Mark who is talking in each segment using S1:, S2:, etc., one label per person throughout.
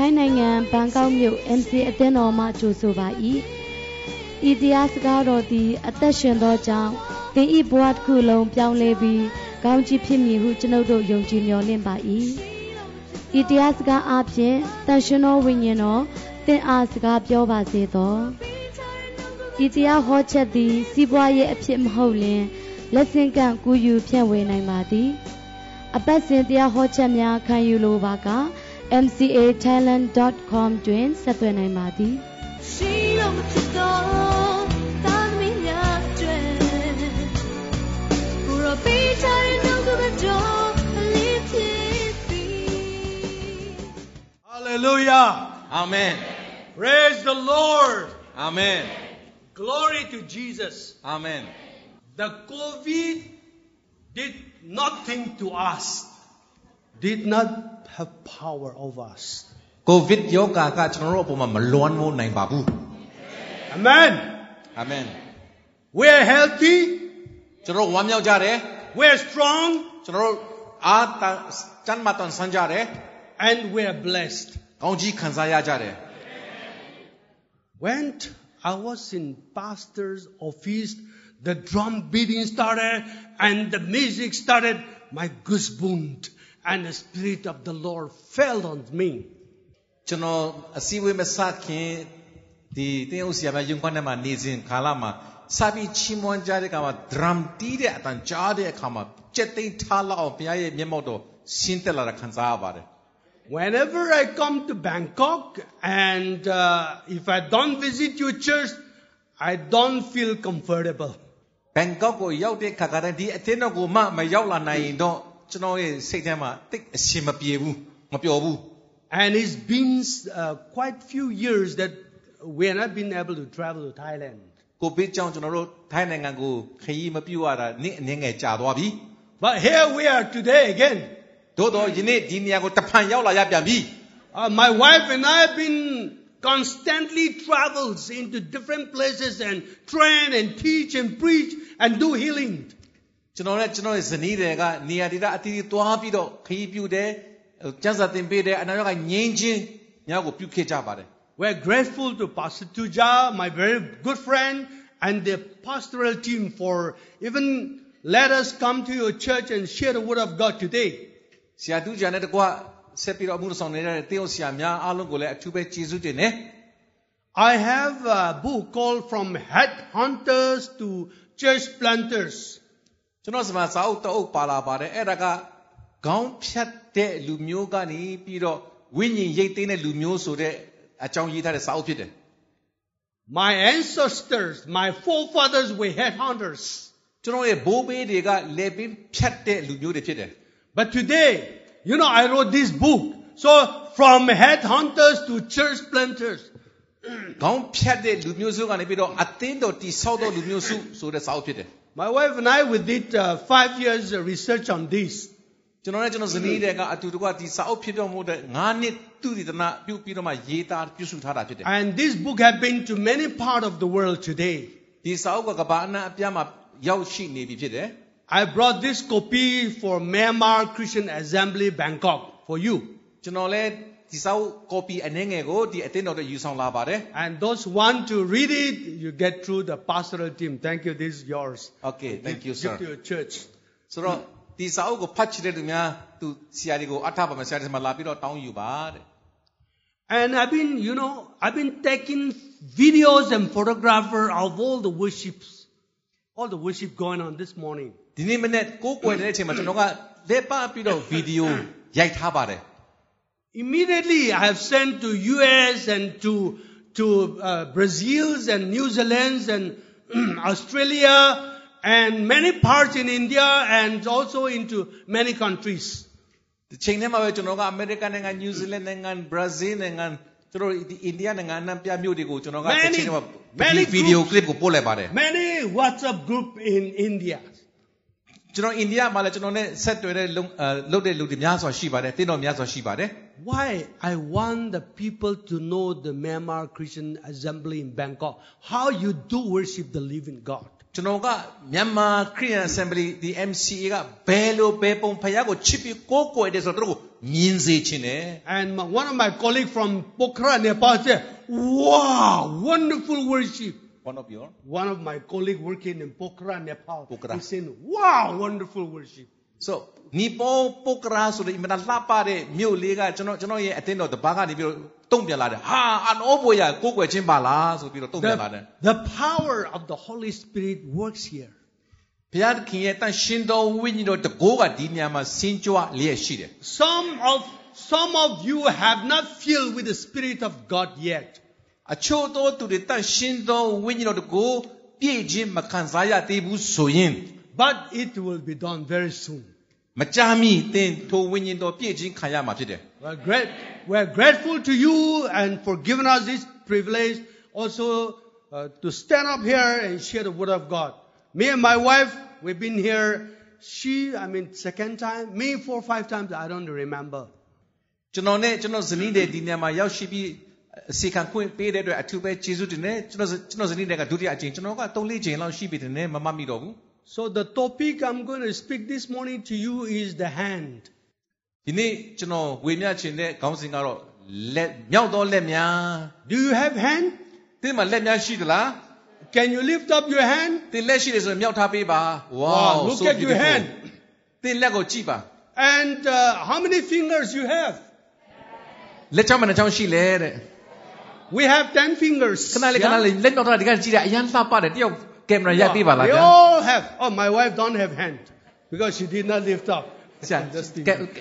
S1: ဘန်ကောက်မြို့ MC အသင်းတော်မှကြိုဆိုပါ၏။ဤတရားစကားတော်သည် အသက်ရှင်သောကြောင့်သင်၏ဘဝတစ်ခုလုံးပြောင်းလဲပြီးကောင်းချီးဖြစ်မည်ဟုကျွန်ုပ်တို့ယုံကြည်မျှော်လင့်ပါ၏။ဤတရားစကားအပြင်တန်ရှင်သောဝိညာဉ်တော်သင်အားစကားပြောပါစေသော။ဤတရားဟောချက်သည် စီးပွားရေးအဖြစ်မဟုတ်လျှင်လက်ဆင့်ကမ်းကူးယူဖြန့်ဝေနိုင်ပါသည်။ အပတ်စဉ်တရားဟောချက်များခံယူလိုပါက mcatalent.com တွင်ဆက်သွယ်နိုင်ပါသည်
S2: ရှိတော့မဖြစ်တော့သာသမီများအတွက်ကိုရောပေးချင်တော့ကိုပဲတော့အလေးဖြစ်စီ
S3: Hallelujah.
S4: Amen.
S3: Praise the Lord.
S4: Amen.
S3: Glory to Jesus.
S4: Amen.
S3: The COVID did nothing to us, did not have power over us.
S4: ကိုဗစ်ယောဂါကကျွန်တော်တို့အပေါ်မှာမလွမ်းမိုးနိုင်ပါဘူး
S3: Amen.
S4: Amen.
S3: We're healthy,
S4: ကျွန်တော်တို့ဝမ်းမြောက်ကြတယ်
S3: we're strong,
S4: ကျွန်တော်တို့အားတန်စံမတန်ဆန်းကြတယ်
S3: and we're blessed.
S4: ကောင်းကြီးခံစားရကြတယ်
S3: When I was in pastor's office, the drum beating started and the music started. My goosebumps and the spirit of the Lord fell on me.
S4: ကျွန်တော်အစည်းအဝေးမစခင်ဒီတင်းအောင်ဆရာမယုံခွန်းထဲမှာနေစဉ်ခါလာမှာစာပြီးချီးမွမ်းကြတဲ့အခါမှာ drum တီးတဲ့အတန်ကြားတဲ့အခါမှာကြက်သိမ်းထားလောက်အောင်ဘုရားရဲ့မျက်မှောက်တော်ရှင်းတက်လာတာခံစားရပါတယ်
S3: Whenever I come to Bangkok and uh, if I don't visit your church, I don't feel comfortable.
S4: ဘန်ကောက်ကိုရောက်တဲ့ခါကတည်းကဒီအသင်းတော်ကိုမှမရောက်လာနိုင်ရင်တော့ကျွန်တော်ရဲ့စိတ်ထဲမှာတိတ်အရှင်မပြေဘူးမပျော်ဘူး
S3: And it's been uh, quite few years that we have not been able to travel to Thailand.
S4: ကိုဗစ်ကြောင့်ကျွန်တော်တို့ထိုင်းနိုင်ငံကိုခရီးမပြုတ်ရတာနေ့အနည်းငယ်ကြာသွားပြီ
S3: But here we are today again.
S4: သို့တော့ယနေ့ဒီနေရာကိုတဖန်ရောက်လာရပြန်ပြီ
S3: Uh, my wife and I have been constantly travels into different places and train and teach and preach and do healing.
S4: ကျွန်တော်နဲ့ကျွန်တော်ရဲ့ဇနီးတွေကနေရာဒေသအသီးသီးသွားပြီးတော့ခရီးပြုတ်တယ်ဟိုကျန်းစာတင်ပေးတယ်အနာရောဂါငြိမ်းချင်းများကိုပြုတ်ခဲ့ကြပါတယ်
S3: We're grateful to Pastor Tuja, my very good friend, and the pastoral team for even let us come to your church and share the word of God today.
S4: ဆရာတူဂျာနဲ့တကွဆက်ပြီးတော့အမှုဆောင်နေတဲ့တင်းအောင်ဆရာများအားလုံးကိုလည်းအထူးပဲကျေးဇူးတင်တယ်
S3: I have a book called From Headhunters to Church Planters.
S4: ကျွန်တော်စမှာစာအုပ်တအုပ်ပါလာပါတယ်အဲ့ဒါကခေါင်းဖြတ်တဲ့လူမျိုးကနေပြီးတော့ဝိညာဉ်ရိတ်သိမ်းတဲ့လူမျိုးဆိုတဲ့အကြောင်းရေးထားတဲ့စာအုပ်ဖြစ်တယ်
S3: My ancestors, my forefathers were headhunters.
S4: ကျွန်တော်ရဲ့ဘိုးဘေးတွေကလေပင်ဖြတ်တဲ့လူမျိုးတွေဖြစ်တယ်
S3: But today, you know, I wrote this book. So from headhunters to church planters,
S4: ခေါင်းဖြတ်တဲ့လူမျိုးစုကနေပြီးတော့အသင်းတော်တိဆောက်သောလူမျိုးစုဆိုတဲ့စာအုပ်ဖြစ်တယ်
S3: my wife and I we did uh, five years uh, research on this.
S4: ကျွန်တော်နဲ့ကျွန်တော်ဇနီးတွေကအတူတကွဒီစာအုပ်ဖြစ်တော်မူတဲ့9နှစ်သူတည်တနာပြုပြီးတော့မှရေးသားပြုစုထားတာဖြစ်တယ်
S3: And this book has been to many parts of the world today.
S4: ဒီစာအုပ်ကကမ္ဘာအနှံ့အပြားမှာရောက်ရှိနေပြီဖြစ်တယ်
S3: I brought this copy for Myanmar Christian Assembly Bangkok for you.
S4: ကျွန်တော်လည်းဒီစာအုပ် copy အနည်းငယ်ကိုဒီအသင်းတော်တွေယူဆောင်လာပါတယ်
S3: And those want to read it, you get through the pastoral team. Thank you. This is yours.
S4: Okay thank you sir
S3: Give to your church.
S4: ဆိုတော့ဒီစာအုပ်ကိုဖတ်ချင်တဲ့သူများသူဆရာတွေကိုအထောက်ပါမယ်ဆရာတွေဆီမှာလာပြီးတော့တောင်းယူပါတဲ့
S3: And I've been, you know, I've been taking videos and photographer of all the worships, all the worship going on this morning.
S4: ဒီနေ့မနေ့ကိုကိုွယ်တဲ့အချိန်မှာကျွန်တော်ကလက်ပပြီးတော့ဗီဒီယိုရိုက်ထားပါတယ်
S3: Immediately, I have sent to U.S. and to to uh, Brazil's and New Zealand's and Australia and many parts in India and also into many countries.
S4: ဒီချိန်ထဲမှာပဲကျွန်တော်ကအမေရိကန်နိုင်ငံနယူးဇီလန်နိုင်ငံဘရာဇီးနိုင်ငံသူတို့ဒီအိန္ဒိယနိုင်ငံအနှံ့ပြမြို့တွေကိုကျွန်တော်က
S3: Many-
S4: ဒီချိန်ထဲမှာ
S3: many
S4: ဗီဒီယိုကလစ်ကိုပို့လိုက်ပါတယ်
S3: Many WhatsApp group in India.
S4: ကျွန်တော်အိန္ဒိယမှာလည်းကျွန်တော်နဲ့ဆက်သွယ်တဲ့လုံအဲလုပ်တဲ့လူတွေများစွာရှိပါတယ်တင်းတော်များစွာရှိပါတယ်
S3: Why I want the people to know the Myanmar Christian Assembly in Bangkok, how you do worship the living God.
S4: ကျွန်တော်ကမြန်မာ Korean Assembly ဒီ MCA ကဘယ်လိုဘယ်ပုံဖျားကိုချစ်ပြီးကိုးကွယ်တယ်ဆိုတော့သူတို့ကို မြင်စေခြင်းနဲ့
S3: And my- one of my colleagues from Pokhara, Nepal said, Wow, wonderful worship.
S4: one of your
S3: One of my colleagues working in Pokhara, Nepal,
S4: Pokhara.
S3: he said, Wow, wonderful worship.
S4: so နီပေါ်ပုတ်ကရာဆိုတဲ့အင်မတန်လှပတဲ့မြို့လေးကကျွန်တော်ကျွန်တော်ရဲ့အတင်းတော်တပားကနေပြီးတော့တုံ့ပြန်လာတယ်ဟာအနောဘွေရကိုကိုွယ်ချင်းပါလားဆိုပြီးတော့တုံ့ပြန်လာတယ်
S3: The, the power of the Holy Spirit works here.
S4: ဘုရားသခင်ရဲ့တန်ရှင်တော်ဝိညာဉ်တော်တကိုးကဒီညမှာဆင်းကြွလျက်ရှိတယ်
S3: Some of, some of you have not filled with the Spirit of God yet.
S4: အချို့သောသူတွေတန်ရှင်သောဝိညာဉ်တော်တကိုပြည့်ခြင်းမခံစားရသေးဘူးဆိုရင်
S3: But it will be done very soon.
S4: မကြာမီသင်ထိုဝိညာဉ်တော်ပြည့်ခြင်းခံရမှာဖြစ်တယ်
S3: We're, great, we're grateful to you and for giving us this privilege also uh, to stand up here and share the word of God. Me and my wife, we've been here, she, I mean, second time, me four or five times, I don't remember.
S4: ကျွန်တော်နဲ့ကျွန်တော်ဇနီးတွေဒီညမှာရောက်ရှိပြီးအစီခံခွင့်ပေးတဲ့အတွက်အထူးပဲကျေးဇူးတင်တယ်ကျွန်တော်ဇကျွန်တော်ဇနီးတွေကဒုတိယအကြိမ်ကျွန်တော်က3-4ကြိမ်လောက်ရှိပြီတင်တယ်မမမိတော့ဘူး
S3: So the topic I'm going to speak this morning to you is the hand.
S4: ဒီနေ့ကျွန်တော်ဝေမျှခြင်းတဲ့ခေါင်းစဉ်ကတော့လက်မြောက်သောလက်များ
S3: Do you have hand?
S4: သင်မှာလက်များရှိသလား
S3: Can you lift up your hand?
S4: သင်လက်ရှိတယ်ဆိုရင်မြောက်ထားပေးပါ
S3: Wow, look
S4: so
S3: at your
S4: beautiful.
S3: hand.
S4: သင်လက်ကိုကြည့်ပါ
S3: And uh, how many fingers you have?
S4: လက်ချောင်းမနှချောင်းရှိလဲတဲ့
S3: We have ten fingers.
S4: ခဏလေးခ
S3: yeah?
S4: ဏလေးလက်မြောက်ထားတာဒီကကြည့်တာအရန်လှပတယ်တယောက်ကင်မရာရိုက်ပေးပါလား
S3: We
S4: ဗျာ
S3: all have. Oh, my wife don't have hand because she did not lift up.
S4: ဆရာ
S3: Just
S4: ကဲ
S3: think.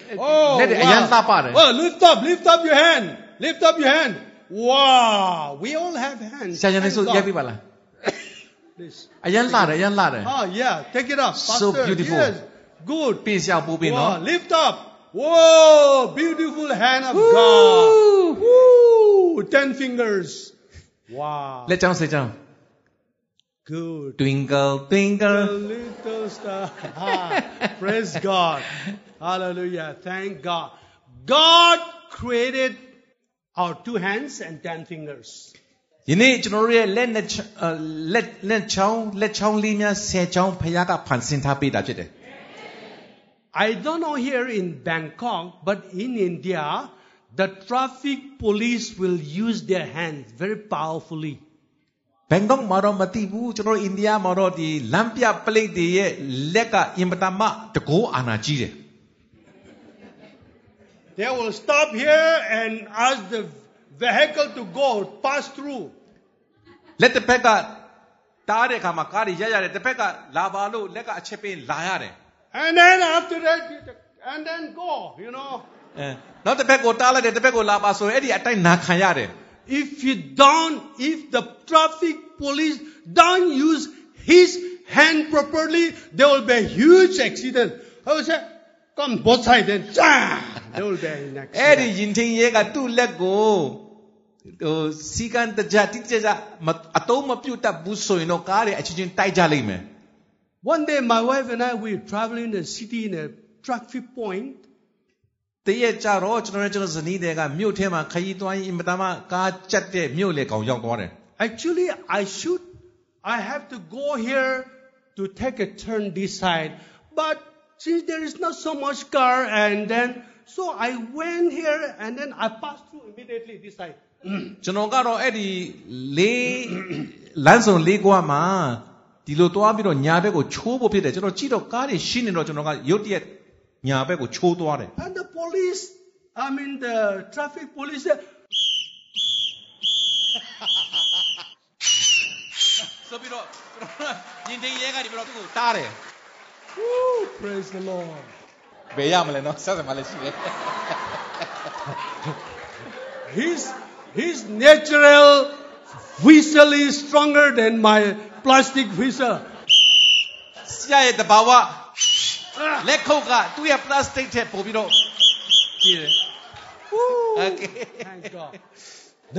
S4: လက်တွေအရန်လှပတယ်
S3: Oh, lift up, lift up your hand. Lift up your hand. Wow, we all have hands.
S4: ဆရာရန်လေးဆို
S3: Thank God.
S4: ရိုက်ပေးပါလား
S3: Please.
S4: အရန်လှတယ်အရန်လှတယ်
S3: Oh yeah, take it up.
S4: So
S3: Pastor.
S4: beautiful.
S3: Yes. Good.
S4: ပေးစရာပို့ပေးနော်
S3: Wow, lift up. Whoa, beautiful hand of God. Woo, ten fingers. Wow.
S4: လက်ချောင်းစေချောင်း
S3: Good.
S4: twinkle twinkle
S3: A little star. Ah, Praise God. Hallelujah. Thank God. God created our two hands and ten fingers.
S4: ယနေ့ကျွန်တော်တို့ရဲ့လက်နဲ့ချအလက်လက်ချောင်းလက်ချောင်းလေးများဆယ်ချောင်းဖခင်ကဖန်ဆင်းထားပေးတာဖြစ်တယ်
S3: I don't know here in Bangkok, but in India, the traffic police will use their hands very powerfully.
S4: ဘန်ကောက်မှာတော့မသိဘူးကျွန်တော်တို့အိန္ဒိယမှာတော့ဒီလမ်းပြပလိတ်တွေရဲ့လက်ကအင်ပတာမတကိုးအာနာကြီးတယ်
S3: They will stop here and ask the vehicle to go, pass through.
S4: လက်တစ်ဖက်ကတားတဲ့အခါမှာကားတွေရက်ရတယ်တစ်ဖက်ကလာပါလို့လက်ကအချက်ပင်းလာရတယ်
S3: And then after that, you- and then go, you know.
S4: အဲနောက်တစ်ဖက်ကိုတားလိုက်တယ်တစ်ဖက်ကိုလာပါဆိုရင်အဲ့ဒီအတိုင်းနာခံရတယ်
S3: If you don't, if the traffic police don't use his hand properly, there will be a huge accident. I will say, come both sides and jam. There will be an
S4: အဲ့ဒီ
S3: accident.
S4: ယင်ထင်းရဲကသူ့လက်ကိုဟိုစီကန်တကြတိကျကျမအတုံးမပြုတ်တတ်ဘူးဆိုရင်တော့ကားတွေအချင်းချင်းတိုက်ကြလိမ့်မယ်
S3: One day, my wife and I we were traveling in the city in a traffic point,
S4: တည့်ရက်ကြတော့ကျွန်တော်တို့ကျွန်တော်ဇနီးတွေကမြို့ထဲမှာခရီးသွားရင်အင်မတန်မှကားကြက်တဲ့မြို့လေကောင်ရောက်သွားတယ်
S3: Actually, I should, I have to go here to take a turn this side. But since there is not so much car, and then, so I went here and then I passed through immediately this side.
S4: ကျွန်တော်ကတော့အဲ့ဒီလေးလမ်းစုံလေးကွာမှာဒီလိုသွားပြီးတော့ညာဘက်ကိုချိုးဖို့ဖြစ်တယ်ကျွန်တော်ကြည့်တော့ကားတွေရှင်းနေတော့ကျွန်တော်ကရုတ်တရက်ညာဘက်ကိုချိုးသွားတယ်
S3: And the police, I mean, the traffic police said,
S4: ဆိုပြီးတော့ညင်တင်ရဲကဒီဘက်တော့သူ့ကိုတားတယ်
S3: Woo, praise the Lord.
S4: ဘယ်ရမလဲနော်ဆက်စံမလဲရှိတယ်
S3: His, his natural whistle is stronger than my plastic whistle.
S4: ဆရာရဲ့တဘာဝ
S3: Ah.
S4: လက်ခုပ်ကသူ့ရဲ့ plastic ထက်ပို့ပြီးတော့ကြီးတယ်
S3: Woo,
S4: Okay.
S3: Thank God.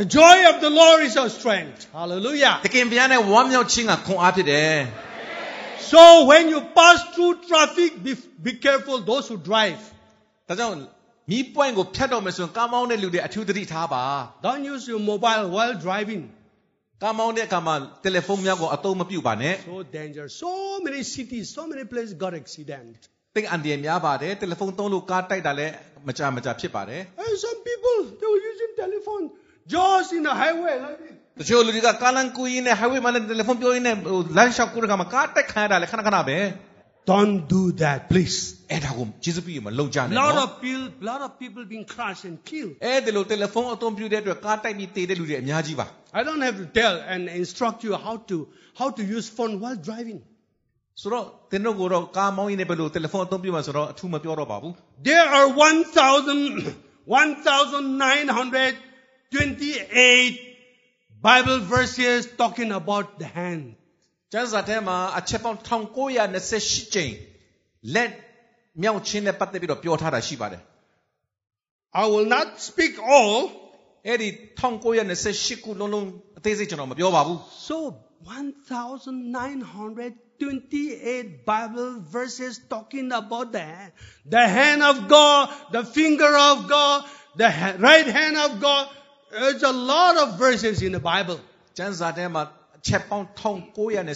S3: The joy of the Lord is our strength. Hallelujah.
S4: တကင်ဘုရားနဲ့ဝမ်းမြောက်ခြင်းကခွန်အားဖြစ်တယ်
S3: So when you pass through traffic, be, be careful those who drive.
S4: ဒါကြောင့်မီးပွိုင်ကိုဖြတ်တော့မယ်ဆိုရင်ကားမောင်းတဲ့လူတွေအထူးသတိထားပါ
S3: Don't use your mobile while driving.
S4: ကားမောင်းတဲ့အခါမှာတယ်လီဖုန်းများကိုအသုံးမပြုပါနဲ့
S3: So dangerous. So many cities, so many places got accident.
S4: တိတ်အန်ဒီရယ်များပါတယ်တယ်လီဖုန်းသုံးလို့ကားတိုက်တာလည်းမကြမကြဖြစ်ပါတယ်
S3: And some people, they were using telephone, just in the highway like this.
S4: တချို့လူတွေကကားလမ်းကူးရင်းနဲ့ highway မှာလည်းတယ်လီဖုန်းပြောရင်းနဲ့ဟိုလမ်းလျှောက်ကူးတဲ့ခါမှာကားတိုက်ခံရတာလည်းခဏခဏပဲ
S3: Don't do that, please.
S4: အဲ့ဒါကိုကျေးဇူးပြုရင်မလုံကြနဲ့
S3: lot
S4: နော်
S3: of people, lot of people being crushed and killed.
S4: အဲ့ဒီလိုတယ်လီဖုန်းအသုံးပြုတဲ့အတွက်ကားတိုက်ပြီးတေတဲ့လူတွေအများကြီးပါ
S3: I don't have to tell and instruct you how to how to use phone while driving.
S4: ဆိုတော့တင်းတို့ကတော့ကားမောင်းရင်းနဲ့ဘယ်လိုတယ်လီဖုန်းအသုံးပြုမှဆိုတော့အထူးမပြောတော့ပါဘူး
S3: There are 1,000 1,928 Bible verses talking about the hand.
S4: ကျမ်းစာထဲမှာအချက်ပေါင်း1928ကျိန်လက်မြောက်ချင်းနဲ့ပတ်သက်ပြီးတော့ပြောထားတာရှိပါတယ်
S3: I will not speak all.
S4: အဲ့ဒီ1928ခုလုံးလုံးအသေးစိတ်ကျွန်တော်မပြောပါဘူး
S3: So 1,928 Bible verses talking about the hand. The hand of God, the finger of God, the ha- right hand of God. There's a lot of verses in the Bible.
S4: ကျမ်းစာထဲမှာအချက်ပေါင်း1928ကျိန်ဘုရားသ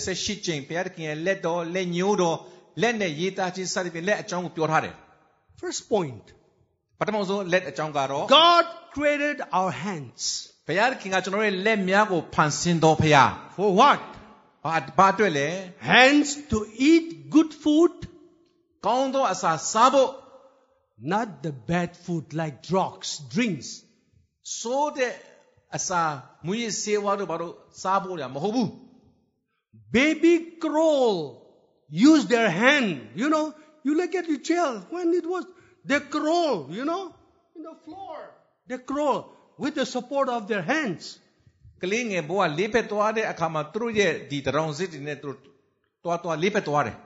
S4: ခင်ရဲ့လက်တော်လက်ညိုးတော်လက်နဲ့ရေးသားခြင်းစသဖြင့်လက်အကြောင်းကိုပြောထားတယ်
S3: First point.
S4: ပထမဆုံးလက်အကြောင်းကတော့
S3: God created our hands.
S4: ဘုရားသခင်ကကျွန်တော်ရဲ့လက်များကိုဖန်ဆင်းတော်ဘုရား
S3: For what?
S4: ဘာဘာအတွက်လဲ
S3: Hands to eat good food,
S4: ကောင်းသောအစာစားဖို့
S3: not the bad food like drugs, drinks.
S4: ဆိုးတဲ့အစာမူရစ်ဆေးဝါးတို့ဘာလို့စားဖို့လဲမဟုတ်ဘူး
S3: Baby crawl use their hand. You know, you look at the child when it was they crawl, you know, in the floor. They crawl with the support of their hands.
S4: ကလေးငယ်ဘဝလေးဖက်သွားတဲ့အခါမှာသူတို့ရဲ့ဒီတရောင်စစ်တွေနဲ့သူတို့တွားတွားလေးဖက်သွားတယ်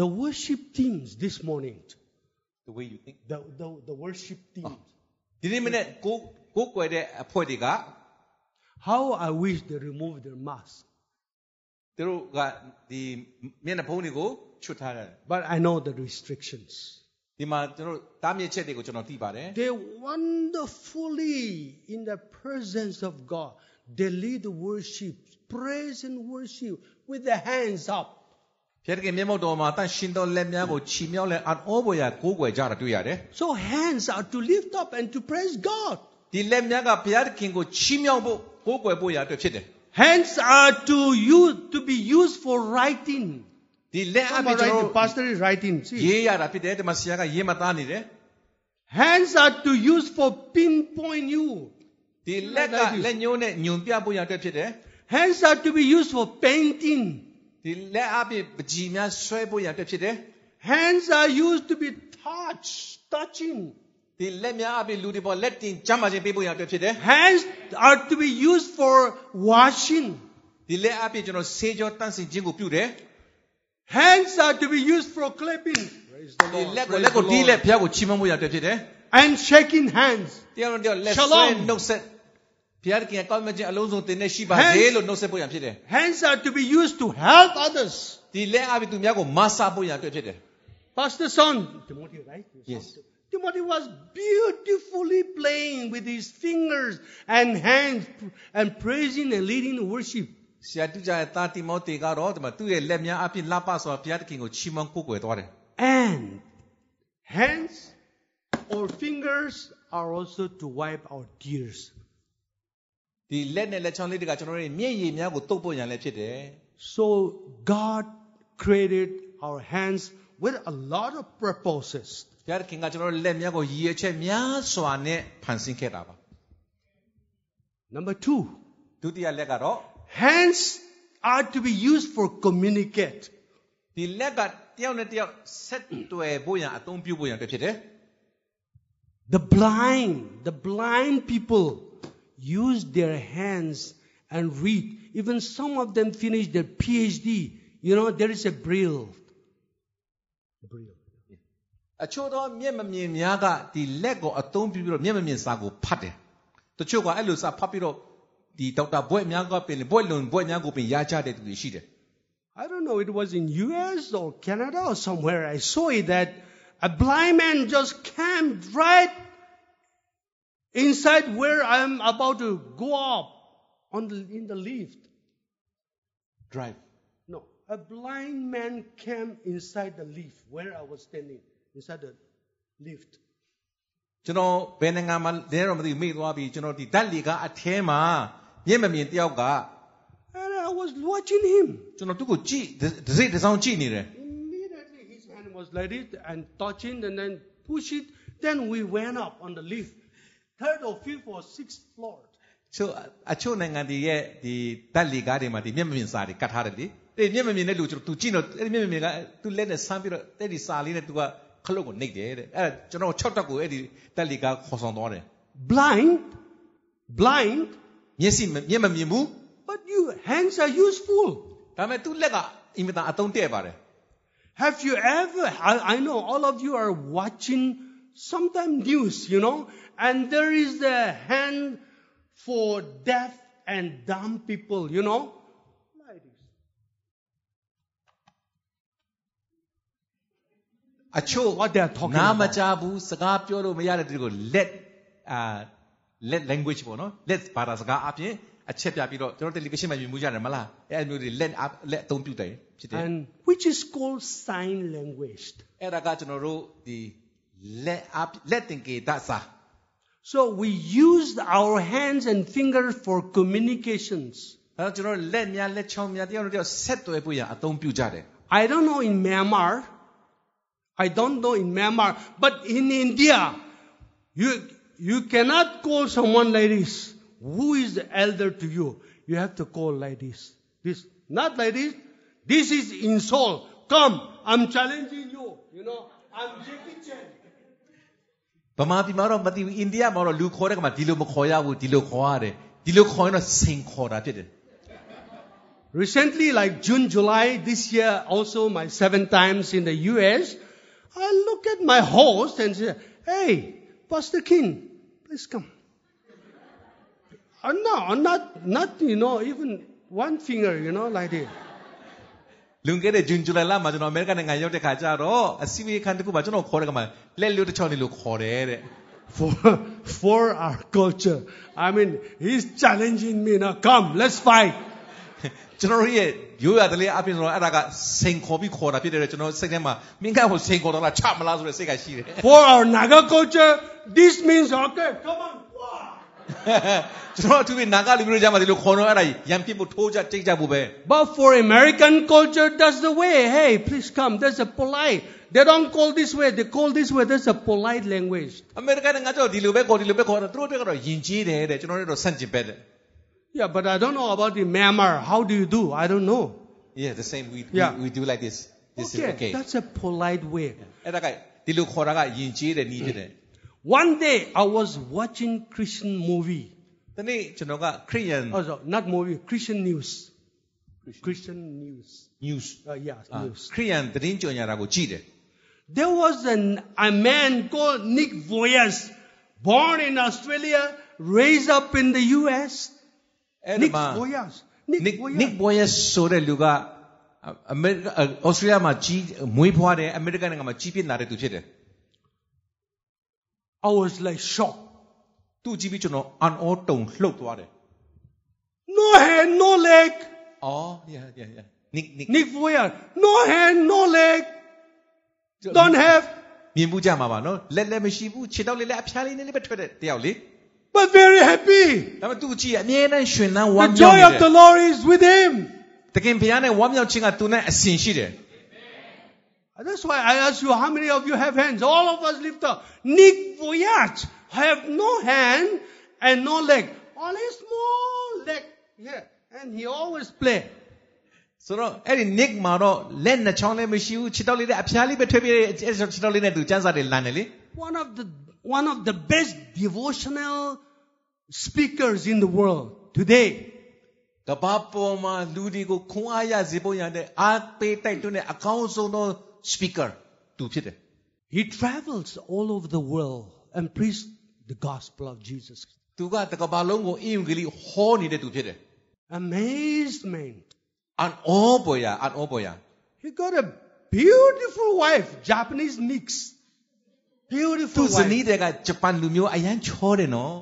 S3: The worship teams this morning.
S4: the way you think
S3: The, the, the worship teams.
S4: ဒီနေ့မနေ့ကိုကိုကိုွယ်တဲ့အဖွဲ့တွေက
S3: How I wish they removed their mask.
S4: သူတို့ကဒီမျက်နှာဖုံးတွေကိုချွတ်ထားတယ်
S3: But I know the restrictions.
S4: ဒီမှာကျွန်တော်တို့တားမြစ်ချက်တွေကိုကျွန်တော်သိပါတယ်
S3: They wonderfully, in the presence of God, they lead worship, praise and worship with their hands up.
S4: ဖျက်ခင်မျက်မှောက်တော်မှာတန့်ရှင်တော်လက်များကိုချီမြောက်လက်အန်အောပေါ်ရကိုကိုွယ်ကြတာတွေ့ရတယ်
S3: So hands are to lift up and to praise God.
S4: ဒီလက်များကဘုရားသခင်ကိုချီးမြှောက်ဖို့ကိုးကွယ်ဖို့ရာအတွက်ဖြစ်တယ်
S3: Hands are to use to be used for writing.
S4: ။ဒီလက်အပြင်
S3: Somebody
S4: ကျွန်
S3: writing,
S4: တော်တို့
S3: pastor is writing. See,
S4: ရေးရတာဖြစ်တယ်ဒီမှာဆရာကရေးမသားနေတယ်
S3: hands are to use for pinpoint you.
S4: ။ဒီလက်ကလက်ညှိုးနဲ့ညွန်ပြဖို့ရာအတွက်ဖြစ်တယ်
S3: Hands are to be used for painting.
S4: ။ဒီလက်အပြင်ပကြီးများဆွဲဖို့ရာအတွက်ဖြစ်တယ်
S3: Hands are used to be touched, touching.
S4: ။ဒီလက်များအပြင်လူတွေပေါ်လက်တင်ကြမ်းမာခြင်းပေးဖို့ရာအတွက်ဖြစ်တယ်
S3: Hands are to be used for washing.
S4: ။ဒီလက်အပြင်ကျွန်တော်ဆေးကြောတန့်စင်ခြင်းကိုပြုတယ်
S3: Hands are to be used for clapping. Praise the
S4: ။ဒီလက်ကို
S3: Praise
S4: လက်ကို
S3: the
S4: ဒီလက်
S3: Lord.
S4: ဘုရားကိုချီးမွမ်းဖို့ရာအတွက်ဖြစ်တယ်
S3: And shaking hands.
S4: ။တရားတော်တရားလက်
S3: Shalom.
S4: ဆွဲနှုတ်ဆက်ဘုရားသခင်ကကောင်းမြတ်ခြင်းအလုံးစုံတင်နေရှိပါစေ
S3: Hands.
S4: လို့နှုတ်ဆက်ဖို့ရာဖြစ်တယ်
S3: Hands are to be used to help others.
S4: ။ဒီလက်အပြင်သူများကိုမဆဖို့ရာအတွက်ဖြစ်တယ်
S3: Pastor's son, Timothy, right?
S4: Yes.
S3: Timothy was beautifully playing with his fingers and hands and praising and leading worship.
S4: ဆရာတူကြရဲ့တာတိမောတေကတော့ဒီမှာသူ့ရဲ့လက်များအပြင်လှပစွာဘုရားသခင်ကိုချီးမွမ်းကိုးကွယ်သွားတယ်
S3: And hands or fingers are also to wipe our tears.
S4: ။ဒီလက်နဲ့လက်ချောင်းလေးတွေကကျွန်တော်တို့ရဲ့မျက်ရည်များကိုတုပ်ပေါ်ရန်လည်းဖြစ်တယ်
S3: So God created our hands with a lot of purposes.
S4: ။ဘုရားသခင်ကကျွန်တော်တို့လက်များကိုရည်ရွယ်ချက်များစွာနဲ့ဖန်ဆင်းခဲ့တာပါ
S3: Number two,
S4: ။ဒုတိယလက်ကတော့
S3: hands are to be used for communicate.
S4: ဒီလက်ကတယောက်နဲ့တယောက်ဆက်တွယ်ဖို့ရန်အသုံးပြုဖို့ရန်အတွက်ဖြစ်တယ်
S3: The blind, the blind people use their hands and read. Even some of them finish their PhD. You know, there is a braille. Braille.
S4: ။အချို့သောမျက်မမြင်များကဒီလက်ကိုအသုံးပြုပြီးတော့မျက်မမြင်စာကိုဖတ်တယ်။တချို့ကအဲ့လိုစာဖတ်ပြီးတော့ဒီဒေါက်တာဘွဲ့များကပင်ဘွဲ့လွန်ဘွဲ့များကိုပင်ရကြတဲ့သူတွေရှိတယ်
S3: I don't know, it was in US or Canada or somewhere. I saw it that a blind man just camped right inside where I'm about to go up on the, in the lift.
S4: drive
S3: No, a blind man came inside the lift where I was standing, inside the lift.
S4: ကျွန်တော်ဘယ်နိုင်ငံမှာလဲတော့မသိဘူးမိသွားပြီကျွန်တော်ဒီဓာတ်လီကအထဲမှာမျက်မမြင်တယောက်က
S3: And I was watching him.
S4: ကျွန်တော်သူ့ကိုကြည့်တစ်စိတ်တစ်စောင်းကြည့်နေတယ်
S3: Immediately his hand was like this and touching and then push it. Then we went up on the lift, third or fifth or sixth floor.
S4: ချို့အချို့နိုင်ငံတွေရဲ့ဒီဓာတ်လီကားတွေမှာဒီမျက်မမြင်စာတွေကတ်ထားတယ်လေတဲ့မျက်မမြင်တဲ့လူကျွန်တော် तू ကြည့်တော့အဲ့ဒီမျက်မမြင်ကသူလက်နဲ့ဆမ်းပြီးတော့တဲ့ဒီစာလေးနဲ့ तू ကခလုတ်ကိုနှိပ်တယ်တဲ့အဲ့ဒါကျွန်တော်6တက်ကိုအဲ့ဒီဓာတ်လီကားခေါ်ဆောင်သွားတယ်
S3: Blind, blind,
S4: မျက်စိမမျက်မမြင်ဘူး
S3: but you hands are useful.
S4: ဒါပေမဲ့သူ့လက်ကအင်မတန်အသုံးတည့်ပါတယ်
S3: Have you ever? I, I know all of you are watching sometime news, you know, and there is the hand for deaf and dumb people, you know. Like this.
S4: အချို့
S3: What they are talking
S4: နား
S3: about.
S4: မကြားဘူးစကားပြောလို့မရတဲ့သူတွေကိုလက်အာ let language ပေါ့နော် let ဘာသာစကားအပြင်အချက်ပြပြီးတော့ကျွန်တော် television မှာမြင်မှုရတယ်မလားအဲ့အမျိုးတွေ let up let အသုံးပြုတယ်ဖြစ်တယ်
S3: and which is called sign language.
S4: အဲ့ဒါကကျွန်တော်တို့ဒီ let up let တင်ကေတစာ
S3: So we use our hands and fingers for communications.
S4: ဒါတော့ကျွန်တော် let များ let ချောင်းများတယောက်နဲ့တယောက်ဆက်သွယ်ဖို့ရအသုံးပြုကြတယ်
S3: I don't know in Myanmar. I don't know in Myanmar, but in India, you you cannot call someone like this. Who is the elder to you? You have to call like this. This not like this. This is insult. Come, I'm challenging you. You know, I'm Jackie Chan.
S4: ဗမာပြည်မှာတော့မသိဘူးအိန္ဒိယမှာတော့လူခေါ်တဲ့ကမှာဒီလိုမခေါ်ရဘူးဒီလိုခေါ်ရတယ်ဒီလိုခေါ်ရင်တော့စိန်ခေါ်တာဖြစ်တယ်
S3: Recently, like June, July this year, also my seven times in the US, I look at my host and say, Hey, Pastor King, please come. Uh, no, I'm not, not, you know, even one finger, you know, like this.
S4: လွန်ခဲ့တဲ့ဂျွန်ဇူလိုင်လမှာကျွန်တော်အမေရိကန်နိုင်ငံရောက်တဲ့ခါကျတော့အစီအမေခန်းတစ်ခုမှာကျွန်တော်ခေါ်တဲ့ကမှာလက်လျို့တစ်ချောင်းလေးလို့ခေါ်တယ်တဲ့
S3: For, for our culture. I mean, he's challenging me now. Come, let's fight.
S4: ကျွန်တော်တို့ရဲ့ရိုးရာတလေးအပြင်ဆိုတော့အဲ့ဒါကစိန်ခေါ်ပြီးခေါ်တာဖြစ်တယ်တဲ့ကျွန်တော်စိတ်ထဲမှာမင်းကဟိုစိန်ခေါ်တော့လားချမလားဆိုတဲ့စိတ်ကရှိတယ်
S3: For our Naga culture, this means, okay, come on. war."
S4: ကျွန်တော်အထူးဖြင့်နာဂလူမျိုးတွေကြားမှာဒီလိုခေါ်တော့အဲ့ဒါရံပြစ်ဖို့ထိုးကြတိတ်ကြဖို့ပဲ
S3: But for American culture, that's the way. Hey, please come. That's a polite. They don't call this way. They call this way. That's a polite language.
S4: အမေရိကန်နိုင်ငံကျတော့ဒီလိုပဲခေါ်ဒီလိုပဲခေါ်တော့သူတို့တွေကတော့ယဉ်ကျေးတယ်တဲ့ကျွန်တော်တို့တော့ဆန့်ကျင်ပဲတဲ့
S3: Yeah, but I don't know about the Myanmar. How do you do? I don't know.
S4: yeah the same we
S3: Yeah.
S4: we, we do like this this is okay
S3: that's a polite way.
S4: အဲ့ဒါကဒီလိုခေါ်တာကယဉ်ကျေးတဲ့နည်းဖြစ်တယ်
S3: One day I was watching Christian movie.
S4: ဒီနေ့ကျွန်တော်ကခရစ်ယာန်
S3: Oh, sorry, not movie. Christian news. Christian news.
S4: news
S3: Uh, yeah,
S4: အာ
S3: news.
S4: ခရစ်ယာန်သတင်းကြော်ညာတာကိုကြည့်တယ်
S3: There was an, a man called Nick Voyas, born in Australia, raised up in the U.S.
S4: အဲ့ဒီ
S3: Nick
S4: မှာ
S3: Boyas. Nick,
S4: Nick
S3: Boyas.
S4: Nick Boyes ဆိုတဲ့လူကအအမေရိကဩစတြေးလျမှာကြီးမွေးဖွားတယ်အမေရိကန်နိုင်ငံမှာကြီးပြင်းလာတဲ့သူဖြစ်တယ်
S3: I was like shocked.
S4: သူ့ကြီးပြီးကျွန်တော် on all တုံလှုပ်သွားတယ်
S3: No hand, no leg.
S4: အော် yeah yeah yeah Nick Nick
S3: Nick Voyer. No hand, no leg. Don't have,
S4: မြင်မှုကြမှာပါနော်လက်လက်မရှိဘူးခြေတောက်လေးလက်အဖျားလေးနည်းလေးပဲထွက်တဲ့တယောက်လေ
S3: but very happy.
S4: ဒါပေမဲ့သူ့ကြီးကအမြဲတမ်းရှင်လန်းဝမ်း
S3: The
S4: မြောက်နေ
S3: joy of
S4: တ
S3: the
S4: ယ်
S3: Lord is with him.
S4: တခင်ဘုရားနဲ့ဝမ်းမြောက်ခြင်းကသူနဲ့အစဉ်ရှိတယ်
S3: That's why I ask you, how many of you have hands? All of us lift up. Nick Voyage have no hand and no leg. Only small leg here. And he always play.
S4: ဆိုတော့အဲ့ဒီ Nick မှာတော့လက်နှစ်ချောင်းလည်းမရှိဘူးခြေတောက်လေးလက်အဖျားလေးပဲထွက်ပြေးတယ်အဲ့ဒီခြေတောက်လေးနဲ့သူစမ်းစာတွေလန်တယ်လေ
S3: One of the, one of the best devotional speakers in the world today.
S4: ကဘာပေါ်မှာလူတွေကိုခွန်အားရစေဖို့ရတဲ့အားပေးတိုက်တွန်းတဲ့အကောင်းဆုံးသော speaker သူဖြစ်တယ်
S3: He travels all over the world and preached the gospel of Jesus.
S4: ။သူကတကဘာလုံးကိုအင်္ဂလိပ်ဟောနေတဲ့သူဖြစ်တယ်
S3: Amazement.
S4: ။ an all boy an all boy
S3: He got a beautiful wife, Japanese mix.
S4: သူ
S3: Beautiful
S4: ဇနီး
S3: wife.
S4: တွေကဂျပန်လူမျိုးအရန်ချောတယ်နော်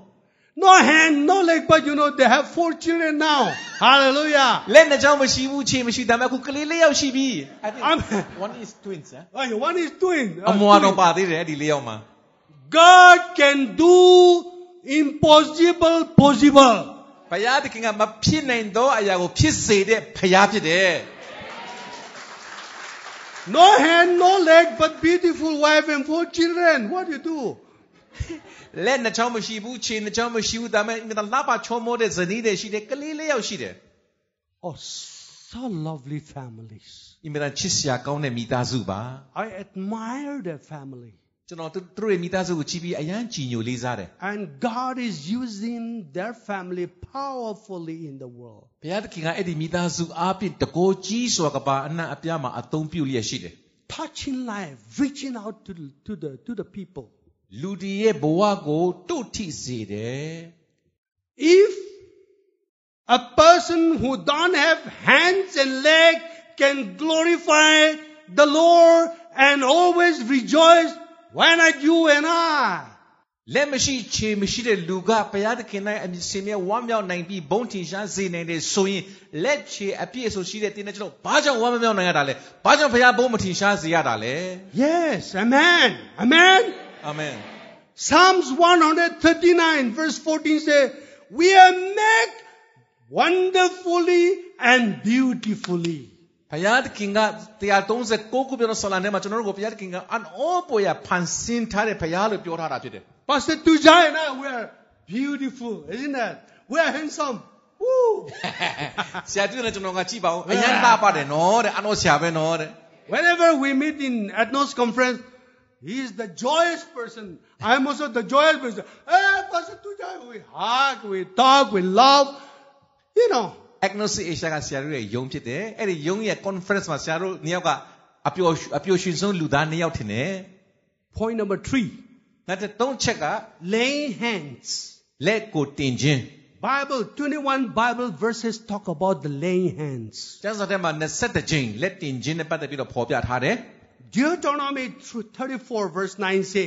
S3: Now No hand, no leg, but you know, they have four children now. Hallelujah.
S4: လက်နှစ်ချောင်းမရှိဘူးခြေမရှိဒါပေမဲ့အခုကလေးလေးယောက်ရှိပြီ I think
S3: I'm-
S4: one is twins huh?
S3: Why, Oh, One is doing.
S4: အမွာတော့ပါသေးတယ်အဲ့ဒီလေးယောက်မှာ
S3: God can do impossible possible.
S4: ဘုရားသခင်ကမဖြစ်နိုင်သောအရာကိုဖြစ်စေတဲ့ဘုရားဖြစ်တယ်
S3: No hand, no leg, but beautiful wife and four children. What do you do?
S4: လက်နှစ်ချောင်းမရှိဘူးခြေနှစ်ချောင်းမရှိဘူးဒါပေမဲ့အင်မတန်လှပချောမောတဲ့ဇနီးတွေရှိတယ်ကလေးလေးယောက်ရှိတယ်
S3: Oh, so lovely families.
S4: အင်မတန်ချစ်စရာကောင်းတဲ့မိသားစုပါ
S3: I admire their family.
S4: ကျွန်တော်တို့တို့ရဲ့မိသားစုကိုချီးပြီးအယမ်းကြည်ညိုလေးစားတယ်
S3: And God is using their family powerfully in the world.
S4: ဘုရားသခင်ကအဲ့ဒီမိသားစုအားဖြင့်တကိုးကြီးစွာကပါအနှံ့အပြားမှာအသုံးပြုလျက်ရှိတယ်
S3: Touching life, reaching out to, to, the, to the people.
S4: လူဒီရဲ့ဘဝကိုတို့ထိစေတယ်
S3: If a person who don't have hands and legs can glorify the Lord and always rejoice, why not you and I?
S4: လက်မရှိခြေမရှိတဲ့လူကဘုရားသခင်၌အမြင်စင်မြဲဝမ်းမြောက်နိုင်ပြီးဘုံထင်ရှားစေနိုင်တယ်ဆိုရင်လက်ခြေအပြည့်အစုံရှိတဲ့တင်းတဲ့ကျွန်တော်ဘာကြောင့်ဝမ်းမမြောက်နိုင်ရတာလဲဘာကြောင့်ဘုရားဘုံမထင်ရှားစေရတာလဲ
S3: Yes, amen, amen.
S4: အာမင်
S3: Psalms 139 verse 14 says, we are made wonderfully and beautifully.
S4: ဘုရားသခင်က136ခုပြောတဲ့ဆောလာထဲမှာကျွန်တော်တို့ကိုဘုရားသခင်ကအန်အောပေါ်ရဖန်ဆင်းထားတဲ့ဘုရားလို့ပြောထားတာဖြစ်တယ်
S3: Pastor Tujai and I, we are beautiful, isn't that? We are handsome. Woo!
S4: ဆရာတူနဲ့ကျွန်တော်ကကြည့်ပါဦးအရန်တာပါတယ်နော်တဲ့အန်အောဆရာပဲနော်တဲ့
S3: Whenever we meet in Atnos conference, he is the joyous person. I am also the joyous person. Hey, Pastor Tujai, we hug, we talk, we love. You know,
S4: Agnostic Asia ကဆရာတို့ရဲ့ယုံဖြစ်တယ်။အဲ့ဒီယုံရဲ့ conference မှာဆရာတို့နှစ်ယောက်ကအပျော်အပျော်ရွှင်ဆုံးလူသားနှစ်ယောက်ထင်တယ်။
S3: point number three,
S4: နောက်တစ်သုံးချက်က
S3: laying hands.
S4: လက်ကိုတင်ခြင်း
S3: Bible, 21 Bible verses talk about the laying hands.
S4: ။ကျမ်းစာထဲမှာ21ကြိမ်လက်တင်ခြင်းနဲ့ပတ်သက်ပြီးတော့ဖော်ပြထားတယ်
S3: Deuteronomy 34 verse 9 say,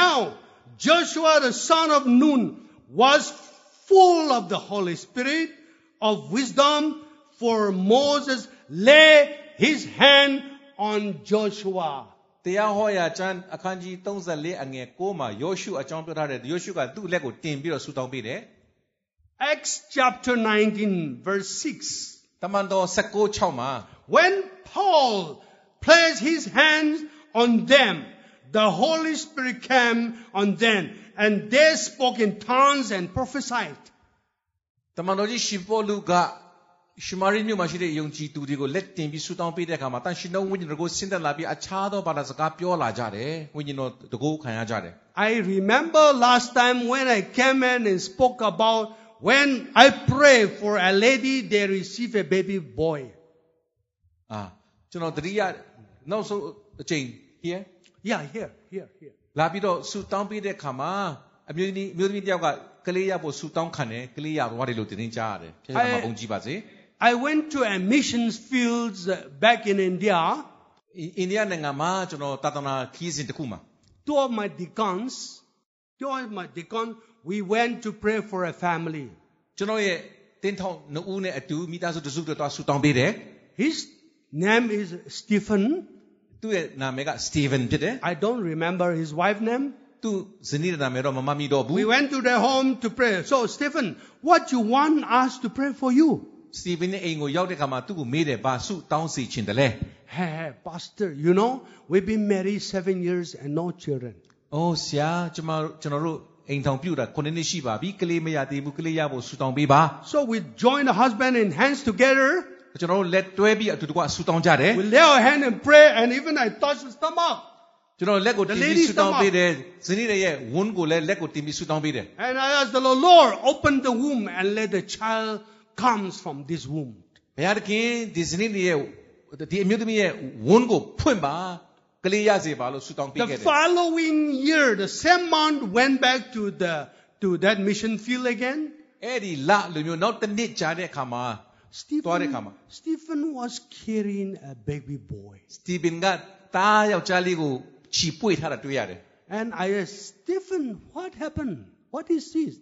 S3: Now Joshua the son of Nun was full of the Holy Spirit of wisdom for Moses lay his hand on Joshua.
S4: ။တရားဟောရာကျမ်းအခန်းကြီး34အငယ်6မှာယောရှုအကြောင်းပြောထားတယ်။ယောရှုကသူ့လက်ကိုတင်ပြီးတော့ဆူတောင်းပေးတယ်။
S3: Acts chapter 19 verse 6.
S4: တမန်တော်16:6မှာ
S3: When Paul placed his hands on them, the Holy Spirit came on them, and they spoke in tongues and prophesied.
S4: တမန်တော်ကြီးရှီပေါလုကရှမာရိမြို့မှာရှိတဲ့ယုံကြည်သူတွေကိုလက်တင်ပြီးဆူတောင်းပေးတဲ့အခါမှာတန်ရှင်တော်ဝိညာဉ်တော်ကိုဆင်းသက်လာပြီးအခြားသောဘာသာစကားပြောလာကြတယ်ဝိညာဉ်တော်တကူခံရကြတယ်
S3: I remember last time when I came in and spoke about when I pray for a lady, they receive a baby boy.
S4: အာကျွန်တော်တတိယနောက်ဆုံးအချိန် here
S3: Yeah, here, here, here.
S4: လာပြီးတော့ဆူတောင်းပေးတဲ့အခါမှာအမျိုးသမီးအမျိုးသမီးတစ်ယောက်ကကလေးရဖို့ဆူတောင်းခံတယ်ကလေးရသွားတယ်လို့တင်းတင်းကြားရတယ်ဖြေရမှာပုံကြည့်ပါစေ
S3: I went to a missions fields uh, back in India.
S4: အိန္ဒိယနိုင်ငံမှာကျွန်တော်တာသနာခီးစဉ်တစ်ခုမှာ
S3: Two of my deacons, two of my deacons, we went to pray for a family.
S4: ကျွန်တော်ရဲ့တင်းထောင်နှဦးနဲ့အတူမိသားစုတစ်စုတည်းသွားဆူတောင်းပေးတယ်
S3: His name is Stephen.
S4: သူ့ရဲ့နာမည်ကစတီဗန်ဖြစ်တယ်
S3: I don't remember his wife name.
S4: သူဇနီးတဲ့နာမည်တော့မမမီတော့ဘူး
S3: We went to their home to pray. So, Stephen, what you want us to pray for you?
S4: စတီဗင်ရဲ့အိမ်ကိုရောက်တဲ့အခါမှာသူ့ကိုမေးတယ်ဘာစုတောင်းစီချင်တယ်လဲ
S3: Hey, hey, Pastor, you know, we've been married seven years and no children.
S4: ။အိုးဆရာကျမတို့ကျွန်တော်တို့အိမ်ထောင်ပြုတာ9နှစ်ရှိပါပြီကလေးမရသေးဘူးကလေးရဖို့ဆူတောင်းပေးပါ
S3: So we join the husband and hands together.
S4: ။ကျွန်တော်တို့လက်တွဲပြီးအတူတကွဆူတောင်းကြတယ်
S3: We lay our hand and pray, and even I touch the stomach.
S4: ။ကျွန်တော်လက်ကိုတင်
S3: The
S4: ပြီး
S3: ladies
S4: ဆူတောင်းပေးတယ်။ဇနီးတွေရဲ့ဝန်းကိုလည်းလက်ကိုတင်ပြီးဆူတောင်းပေးတယ်
S3: And I ask the Lord, Lord, open the womb and let the child comes from this womb.
S4: ။ဘုရားသခင်ဒီဇနီးတွေရဲ့ဒီအမျိုးသမီးရဲ့ဝန်းကိုဖွင့်ပါကလေးရစေပါလို့ဆူတောင်းပေး
S3: The
S4: ခဲ့တယ်
S3: following year, the same month, went back to the to that mission field again.
S4: ။အဲ့ဒီလလူမျိုးနောက်တစ်နှစ်ကြာတဲ့အခါမှာ
S3: Stephen,
S4: Tuarekama.
S3: Stephen was carrying a baby boy.
S4: စတီဗင်ကတားယောက်ျားလေးကိုချီပွေထားတာတွေ့ရတယ်
S3: And I asked, Stephen, what happened? What is this?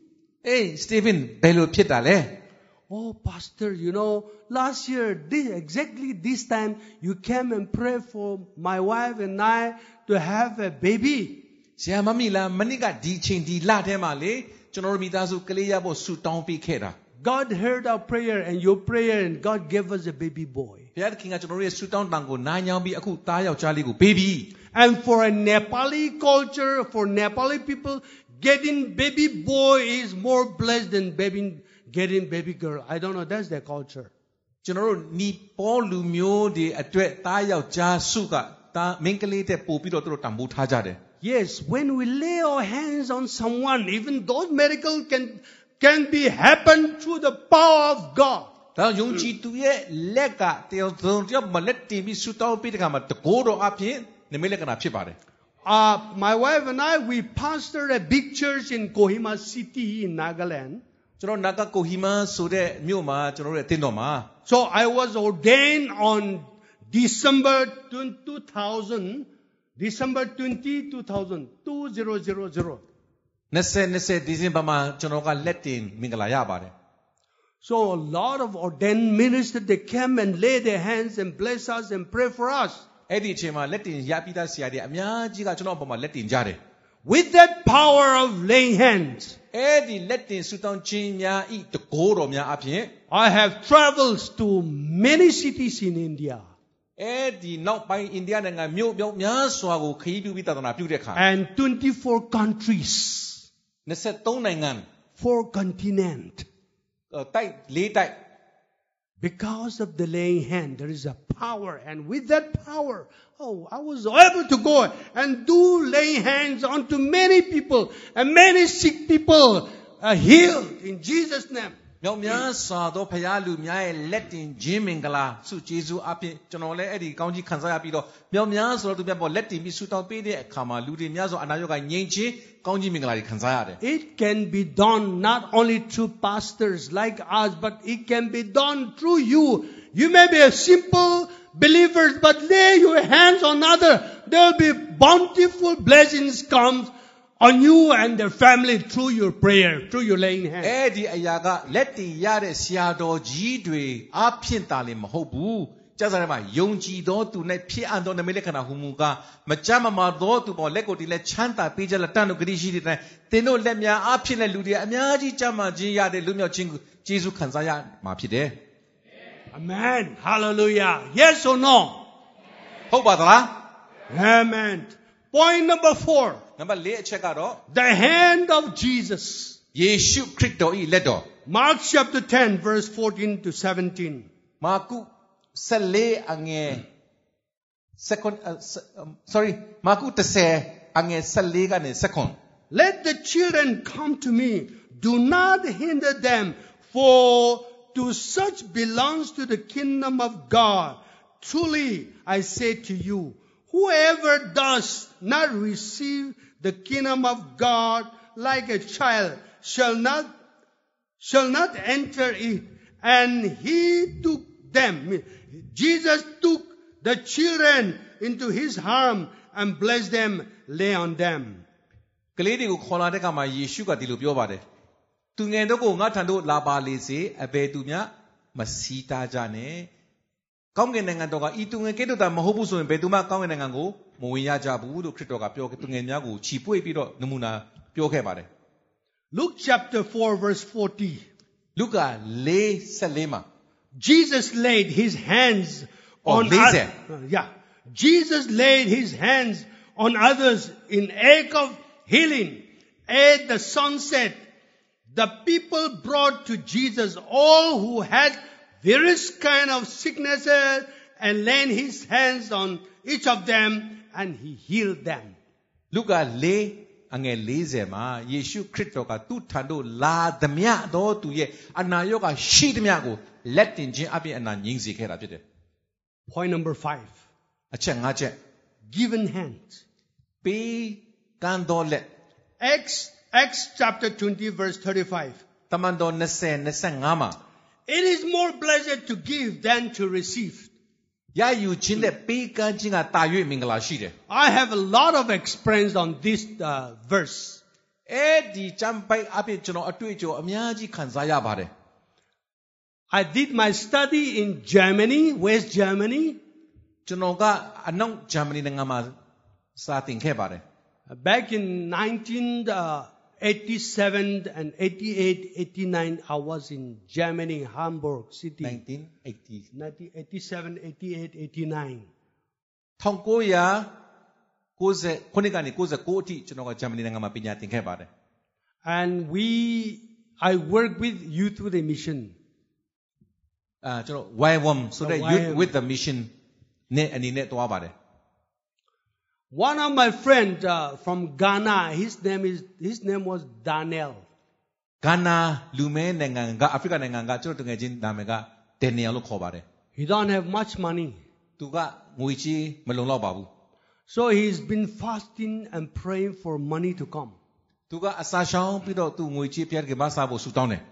S4: ။ အေးစတီဗင်ဘယ်လိုဖြစ်တာလဲ
S3: Oh, Pastor, you know, last year, this, exactly this time, you came and prayed for my wife and I to have a baby.
S4: ဆရာမမီလာမနစ်ကဒီချိန်ဒီလထဲမှာလေကျွန်တော်တို့မိသားစုကလေးရဖို့ဆူတောင်းပေးခဲ့တာ
S3: God heard our prayer and your prayer, and God gave us a baby boy.
S4: ဘုရားသခင်ကကျွန်တော်တို့ရဲ့ဆူတောင်းတန်ကိုနားညောင်းပြီးအခုသားယောက်ျားလေးကိုပေးပြီ
S3: And for a Nepali culture, for Nepali people, getting baby boy is more blessed than baby, getting baby girl. I don't know, that's their culture.
S4: ကျွန်တော်တို့နီပေါ်လူမျိုးတွေအတွက်သားယောက်ျားစုကသားမင်းကလေးတဲ့ပို့ပြီးတော့သူတို့တံမိုးထားကြတယ်
S3: Yes, when we lay our hands on someone, even those miracles can, can be happen through the power of God.
S4: ဒါကြောင့်ယုံကြည်သူရဲ့လက်ကတယောက်သုံးတယောက်မလက်တင်ပြီးဆူတောင်းပေးတဲ့ခါမှာတကိုးတော်အဖြစ်နိမိတ်လက္ခဏာဖြစ်ပါတယ်
S3: Uh, my wife and I, we pastored a big church in Kohima City in Nagaland.
S4: ကျွန်တော်နာကကိုဟီမန်ဆိုတဲ့မြို့မှာကျွန်တော်တို့ရဲ့အသင်းတော်မှာ
S3: So I was ordained on December 20, 2000, December 20, 2000, 2000.
S4: 20 20ဒီဇင်ဘာမှာကျွန်တော်ကလက်တင်မင်္ဂလာရပါတယ်
S3: So a lot of ordained ministers, they came and laid their hands and bless us and pray for us.
S4: အဲ့ဒီအချိန်မှာလက်တင်ရပြီးသားဆရာတွေအများကြီးကကျွန်တော်အပေါ်မှာလက်တင်ကြတယ်
S3: With that power of laying hands,
S4: အဲ့ဒီလက်တင်ဆူတောင်းခြင်းများဤတကိုးတော်များအပြင်
S3: I have traveled to many cities in India.
S4: အဲ့ဒီနောက်ပိုင်းအိန္ဒိယနိုင်ငံမြို့ပြောင်းများစွာကိုခရီးပြုပြီးသာသနာပြုတဲ့အခါ
S3: and 24 countries,
S4: 23နိုင်ငံ
S3: four continents.
S4: အဲတိုက်၄တိုက်
S3: Because of the laying hand, there is a power, and with that power, oh, I was able to go and do laying hands onto many people, and many sick people are healed in Jesus' name.
S4: မြောက်များစွာသောဖရာလူများရဲ့လက်တင်ခြင်းမင်္ဂလာဆုကျေးဇူးအပြင်ကျွန်တော်လည်းအဲ့ဒီကောင်းကြီးခံစားရပြီးတော့မြောက်များစွာသောသူများပေါ်လက်တင်ပြီးဆုတောင်းပေးတဲ့အခါမှာလူတွေများစွာအနာရောဂါငြိမ်းခြင်းကောင်းကြီးမင်္ဂလာတွေခံစားရတယ်
S3: It can be done not only through pastors like us, but it can be done through you. You may be a simple believer, but lay your hands on other. There will be bountiful blessings comes on you and their family through your prayer, through your laying hands.
S4: အဲ့ဒီအရာကလက်တင်ရတဲ့ဆရာတော်ကြီးတွေအဖြစ်တာလည်းမဟုတ်ဘူးကျမ်းစာထဲမှာယုံကြည်သောသူ၌ဖြစ်အပ်သောနမိတ်လက္ခဏာဟူမူကားမကြမ်းမမာသောသူပေါ်လက်ကိုယ်တည်းလက်ချမ်းသာပေးကြလက်တန်တို့ဂတိရှိတဲ့တိုင်းသင်တို့လက်များအဖြစ်နဲ့လူတွေအများကြီးကြမ်းမာခြင်းရတဲ့လူမြောက်ခြင်းကိုကျေးဇူးခံစားရမှာဖြစ်တယ်
S3: Amen. Hallelujah. Yes or no?
S4: ဟုတ်ပါသလား
S3: Amen. Point number four.
S4: နံပါတ်၄အချက်ကတော့
S3: The hand of Jesus.
S4: ယေရှုခရစ်တော်၏လက်တော်
S3: Mark chapter 10 verse 14 to 17.
S4: မာကု14အငယ် second uh, se- um, sorry မာကု10အငယ်14ကနေ second
S3: Let the children come to me. Do not hinder them, for to such belongs to the kingdom of God. Truly, I say to you, whoever does not receive the kingdom of God like a child shall not shall not enter it. And he took them. Jesus took the children into his arm and blessed them, lay on them.
S4: ကလေးတွေကိုခေါ်လာတဲ့အခါမှာယေရှုကဒီလိုပြောပါတယ်သူငယ်တို့ကိုငါထံသို့လာပါလေစေအဘယ်သူမျှမစီးတားကြနဲ့ကောင်းကင်နိုင်ငံတော်ကဤသူငယ်ကဲ့သို့တာမဟုတ်ဘူးဆိုရင်ဘယ်သူမှကောင်းကင်နိုင်ငံကိုမဝင်ရကြဘူးလို့ခရစ်တော်ကပြောခဲ့သူငယ်များကိုခြိပွေ့ပြီးတော့နမူနာပြောခဲ့ပါတယ်
S3: Luke chapter 4 verse 40.
S4: လူကာ4:14မှာ
S3: Jesus laid his hands
S4: Oh,
S3: on
S4: laid
S3: oth-
S4: there.
S3: Uh, yeah. Jesus laid his hands on others in ache of healing. At the sunset, the people brought to Jesus all who had various kind of sicknesses and laid his hands on each of them and he healed them.
S4: လူကာ၄အငယ်40မှာယေရှုခရစ်တော်ကသူ့ထံသို့လာသမျှသောသူရဲ့အနာရောဂါရှိသမျှကိုလက်တင်ခြင်းအပြင်အနာငြိမ်းစေခဲ့တာဖြစ်တယ်
S3: Point number five.
S4: ။အချက်၅ချက်
S3: Given hands.
S4: ပေးကမ်းတော်လက်
S3: Acts, Acts chapter 20 verse 35.
S4: တမန်တော်20 25မှာ
S3: It is more blessed to give than to receive.
S4: ရယူခြင်းနဲ့ပေးကမ်းခြင်းကတာ၍မင်္ဂလာရှိတယ်
S3: I have a lot of experience on this uh, verse.
S4: ။ အဲ့ဒီကျမ်းပိုက်အပြင်ကျွန်တော်အတွေ့အကြုံအများကြီးခံစားရပါတယ်
S3: I did my study in Germany, West Germany.
S4: ကျွန်တော်ကအနောက်ဂျာမနီနိုင်ငံမှာစာသင်ခဲ့ပါတယ်
S3: Back in 1987 and 88, 89, I was in Germany, Hamburg city.
S4: 1980
S3: 1987, 88, 89.
S4: 1990ခုနှစ်ကနေ99အထိကျွန်တော်ကဂျာမနီနိုင်ငံမှာပညာသင်ခဲ့ပါတယ်
S3: And we, I work with Youth with a Mission.
S4: အာကျွန်တော် YWAM ဆိုတဲ့
S3: The
S4: Youth
S3: YWAM
S4: with the Mission နဲ့အနေနဲ့တွားပါတယ်
S3: One of my friend uh, from Ghana, his name is, his name was Daniel.
S4: ဂါနာလူမဲနိုင်ငံကအာဖရိကနိုင်ငံကကျွန်တော်တကယ်ချင်းနာမည်ကဒန်နီယယ်လို့ခေါ်ပါတယ်
S3: He don't have much money.
S4: သူကငွေကြီးမလုံလောက်ပါဘူး
S3: So he's been fasting and praying for money to come.
S4: သူကအစာရှောင်ပြီးတော့သူငွေကြီးပြတ်ကဘာစားဖို့ဆူတောင်းတယ်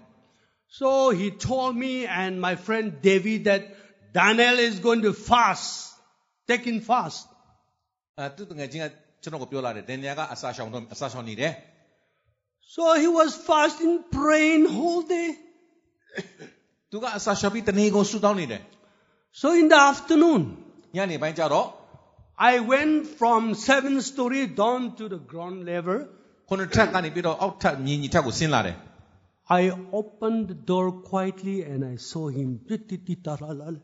S3: So he told me and my friend David that Daniel is going to fast, taking fast.
S4: အဲသူတကယ်ချင်းကကျွန်တော်ကိုပြောလာတယ်ဒန်နီယယ်ကအစာရှောင်တော့အစာရှောင်နေတယ်
S3: So he was fasting, praying whole day.
S4: သူကအစာရှောင်ပြီးတနေ့ကိုဆူတောင်းနေတယ်
S3: So in the afternoon,
S4: ညနေပိုင်းကျတော့
S3: I went from seven story down to the ground level.
S4: ခုနှစ်ထပ်ကနေပြီးတော့အောက်ထပ်မြင်းကြီးထပ်ကိုဆင်းလာတယ်
S3: I opened the door quietly and I saw him.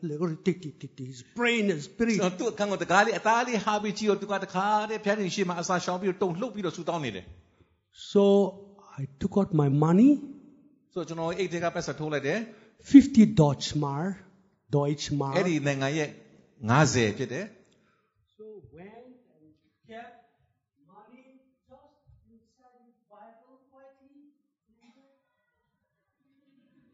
S3: He's praying in spirit.
S4: ကျွန်တော်သူ့အခန်းကိုတကားလေးအသားလေးဟာပြီးကြည့်တော့သူကတခါတည်းဖျားနေရှိမှအစာရှောင်ပြီးတော့တုံလှုပ်ပြီးတော့ဆူတောင်းနေတယ်
S3: So I took out my money,
S4: ဆိုတော့ကျွန်တော်အိတ်ထဲကပတ်ဆက်ထိုးလိုက်တယ်
S3: 50 Deutschmark, Deutschmark.
S4: အဲ့ဒီနိုင်ငံရဲ့90ဖြစ်တယ်
S3: So went and kept money just inside his Bible quietly.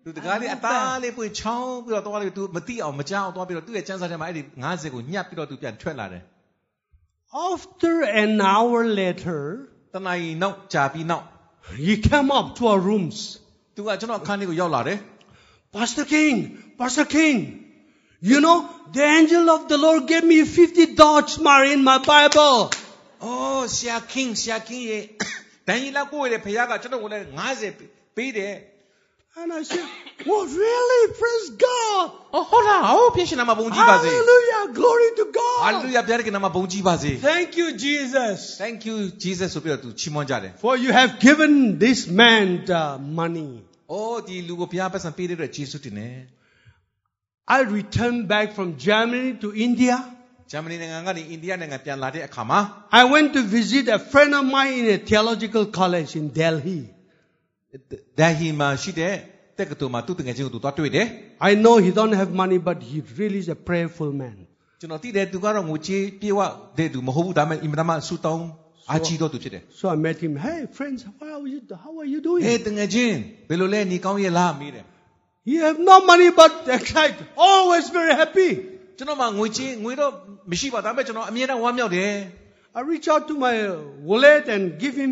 S4: သူတကားလေးအသားလေးပွင့်ချောင်းပြီးတော့သွားလိုက်သူမသိအောင်မကြောက်အောင်သွားပြီးတော့သူ့ရဲ့ကျန်းစာထဲမှာအဲ့ဒီ90ကိုညှပ်ပြီးတော့သူပြန်ထွက်လာတယ်
S3: After an hour later,
S4: တနင်္လာရီနောက်ကြာပြီးနောက်
S3: he came up to our rooms.
S4: သူကကျွန်တော်အခန်းလေးကိုရောက်လာတယ်
S3: Pastor King, Pastor King, you know, the angel of the Lord gave me 50 Deutschmark in my Bible.
S4: အော်ဆရာ king ဆရာ king ရဲ့ဒန်ရီလာကိုယ့်ရဲ့ဖခင်ကကျွန်တော်ကိုလည်း90ပေးတယ်
S3: And I said, Oh, really? Praise God.
S4: အော်ဟုတ်လားဟောပြင်ရှင်နာမဘုံကြီးပါစေ
S3: Hallelujah. Glory to God.
S4: ဟာလူရဘုရားကနာမဘုံကြီးပါစေ
S3: Thank you, Jesus.
S4: Thank you Jesus ဆိုပြီးတော့သူချီးမွမ်းကြတယ်
S3: For you have given this man the money.
S4: ။အော်ဒီလူကိုဘုရားပတ်စံပေးတဲ့အတွက်ယေရှုတင်တယ်
S3: I returned back from Germany to India.
S4: ။ဂျာမနီနိုင်ငံကနေအိန္ဒိယနိုင်ငံပြန်လာတဲ့အခါမှာ
S3: I went to visit a friend of mine in a theological college in Delhi.
S4: ဒါဟီမှာရှိတဲ့တက္ကသိုလ်မှာသူ့တငယ်ချင်းကိုသူသွားတွေ့တယ်
S3: I know he don't have money, but he really is a prayerful man.
S4: ။ကျွန်တော်သိတယ်သူကတော့ငိုချေးပြေဝတဲ့သူမဟုတ်ဘူးဒါပေမဲ့အင်မတန်မှဆူတောင်းအားကြီးတော့သူဖြစ်တယ်
S3: So I met him. Hey, friends, how are you? How are you doing?
S4: ။ဟေးတငယ်ချင်းဘယ်လိုလဲနေကောင်းရဲ့လားမေးတယ်
S3: You have no money, but excited, always very happy.
S4: ။ကျွန်တော်မှငွေချေးငွေတော့မရှိပါဒါပေမဲ့ကျွန်တော်အမြဲတမ်းဝမ်းမြောက်တယ်
S3: I reach out to my wallet and give him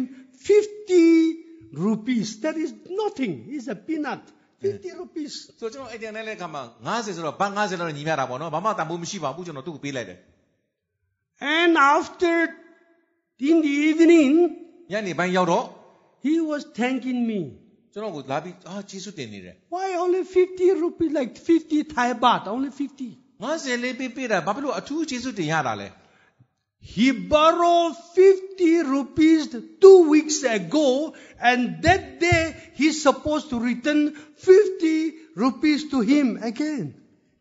S3: 50 rupees. That is nothing. It's a peanut. 50 rupees.
S4: ။ဆိုတော့ကျွန်တော်အဲ့ဒီနေ့လည်းအခါမှာ90ဆိုတော့ဘတ်90လောက်နဲ့ညီမျှတာပေါ့နော်။ဘာမှတန်ဖိုးမရှိပါဘူးကျွန်တော်သူ့ကိုပေးလိုက်တယ်
S3: And after, in the evening,
S4: ။ညနေပိုင်းရောက်တော့
S3: he was thanking me.
S4: ကျွန်တော်ကိုလာပြီးအာယေရှုတင်နေတယ်
S3: Why only 50 rupees, like 50 Thai baht, only 50?
S4: 50လေးပေးပေးတာဘာဖြစ်လို့အထူးယေရှုတင်ရတာလဲ
S3: He borrowed 50 rupees two weeks ago, and that day he's supposed to return 50 rupees to him again.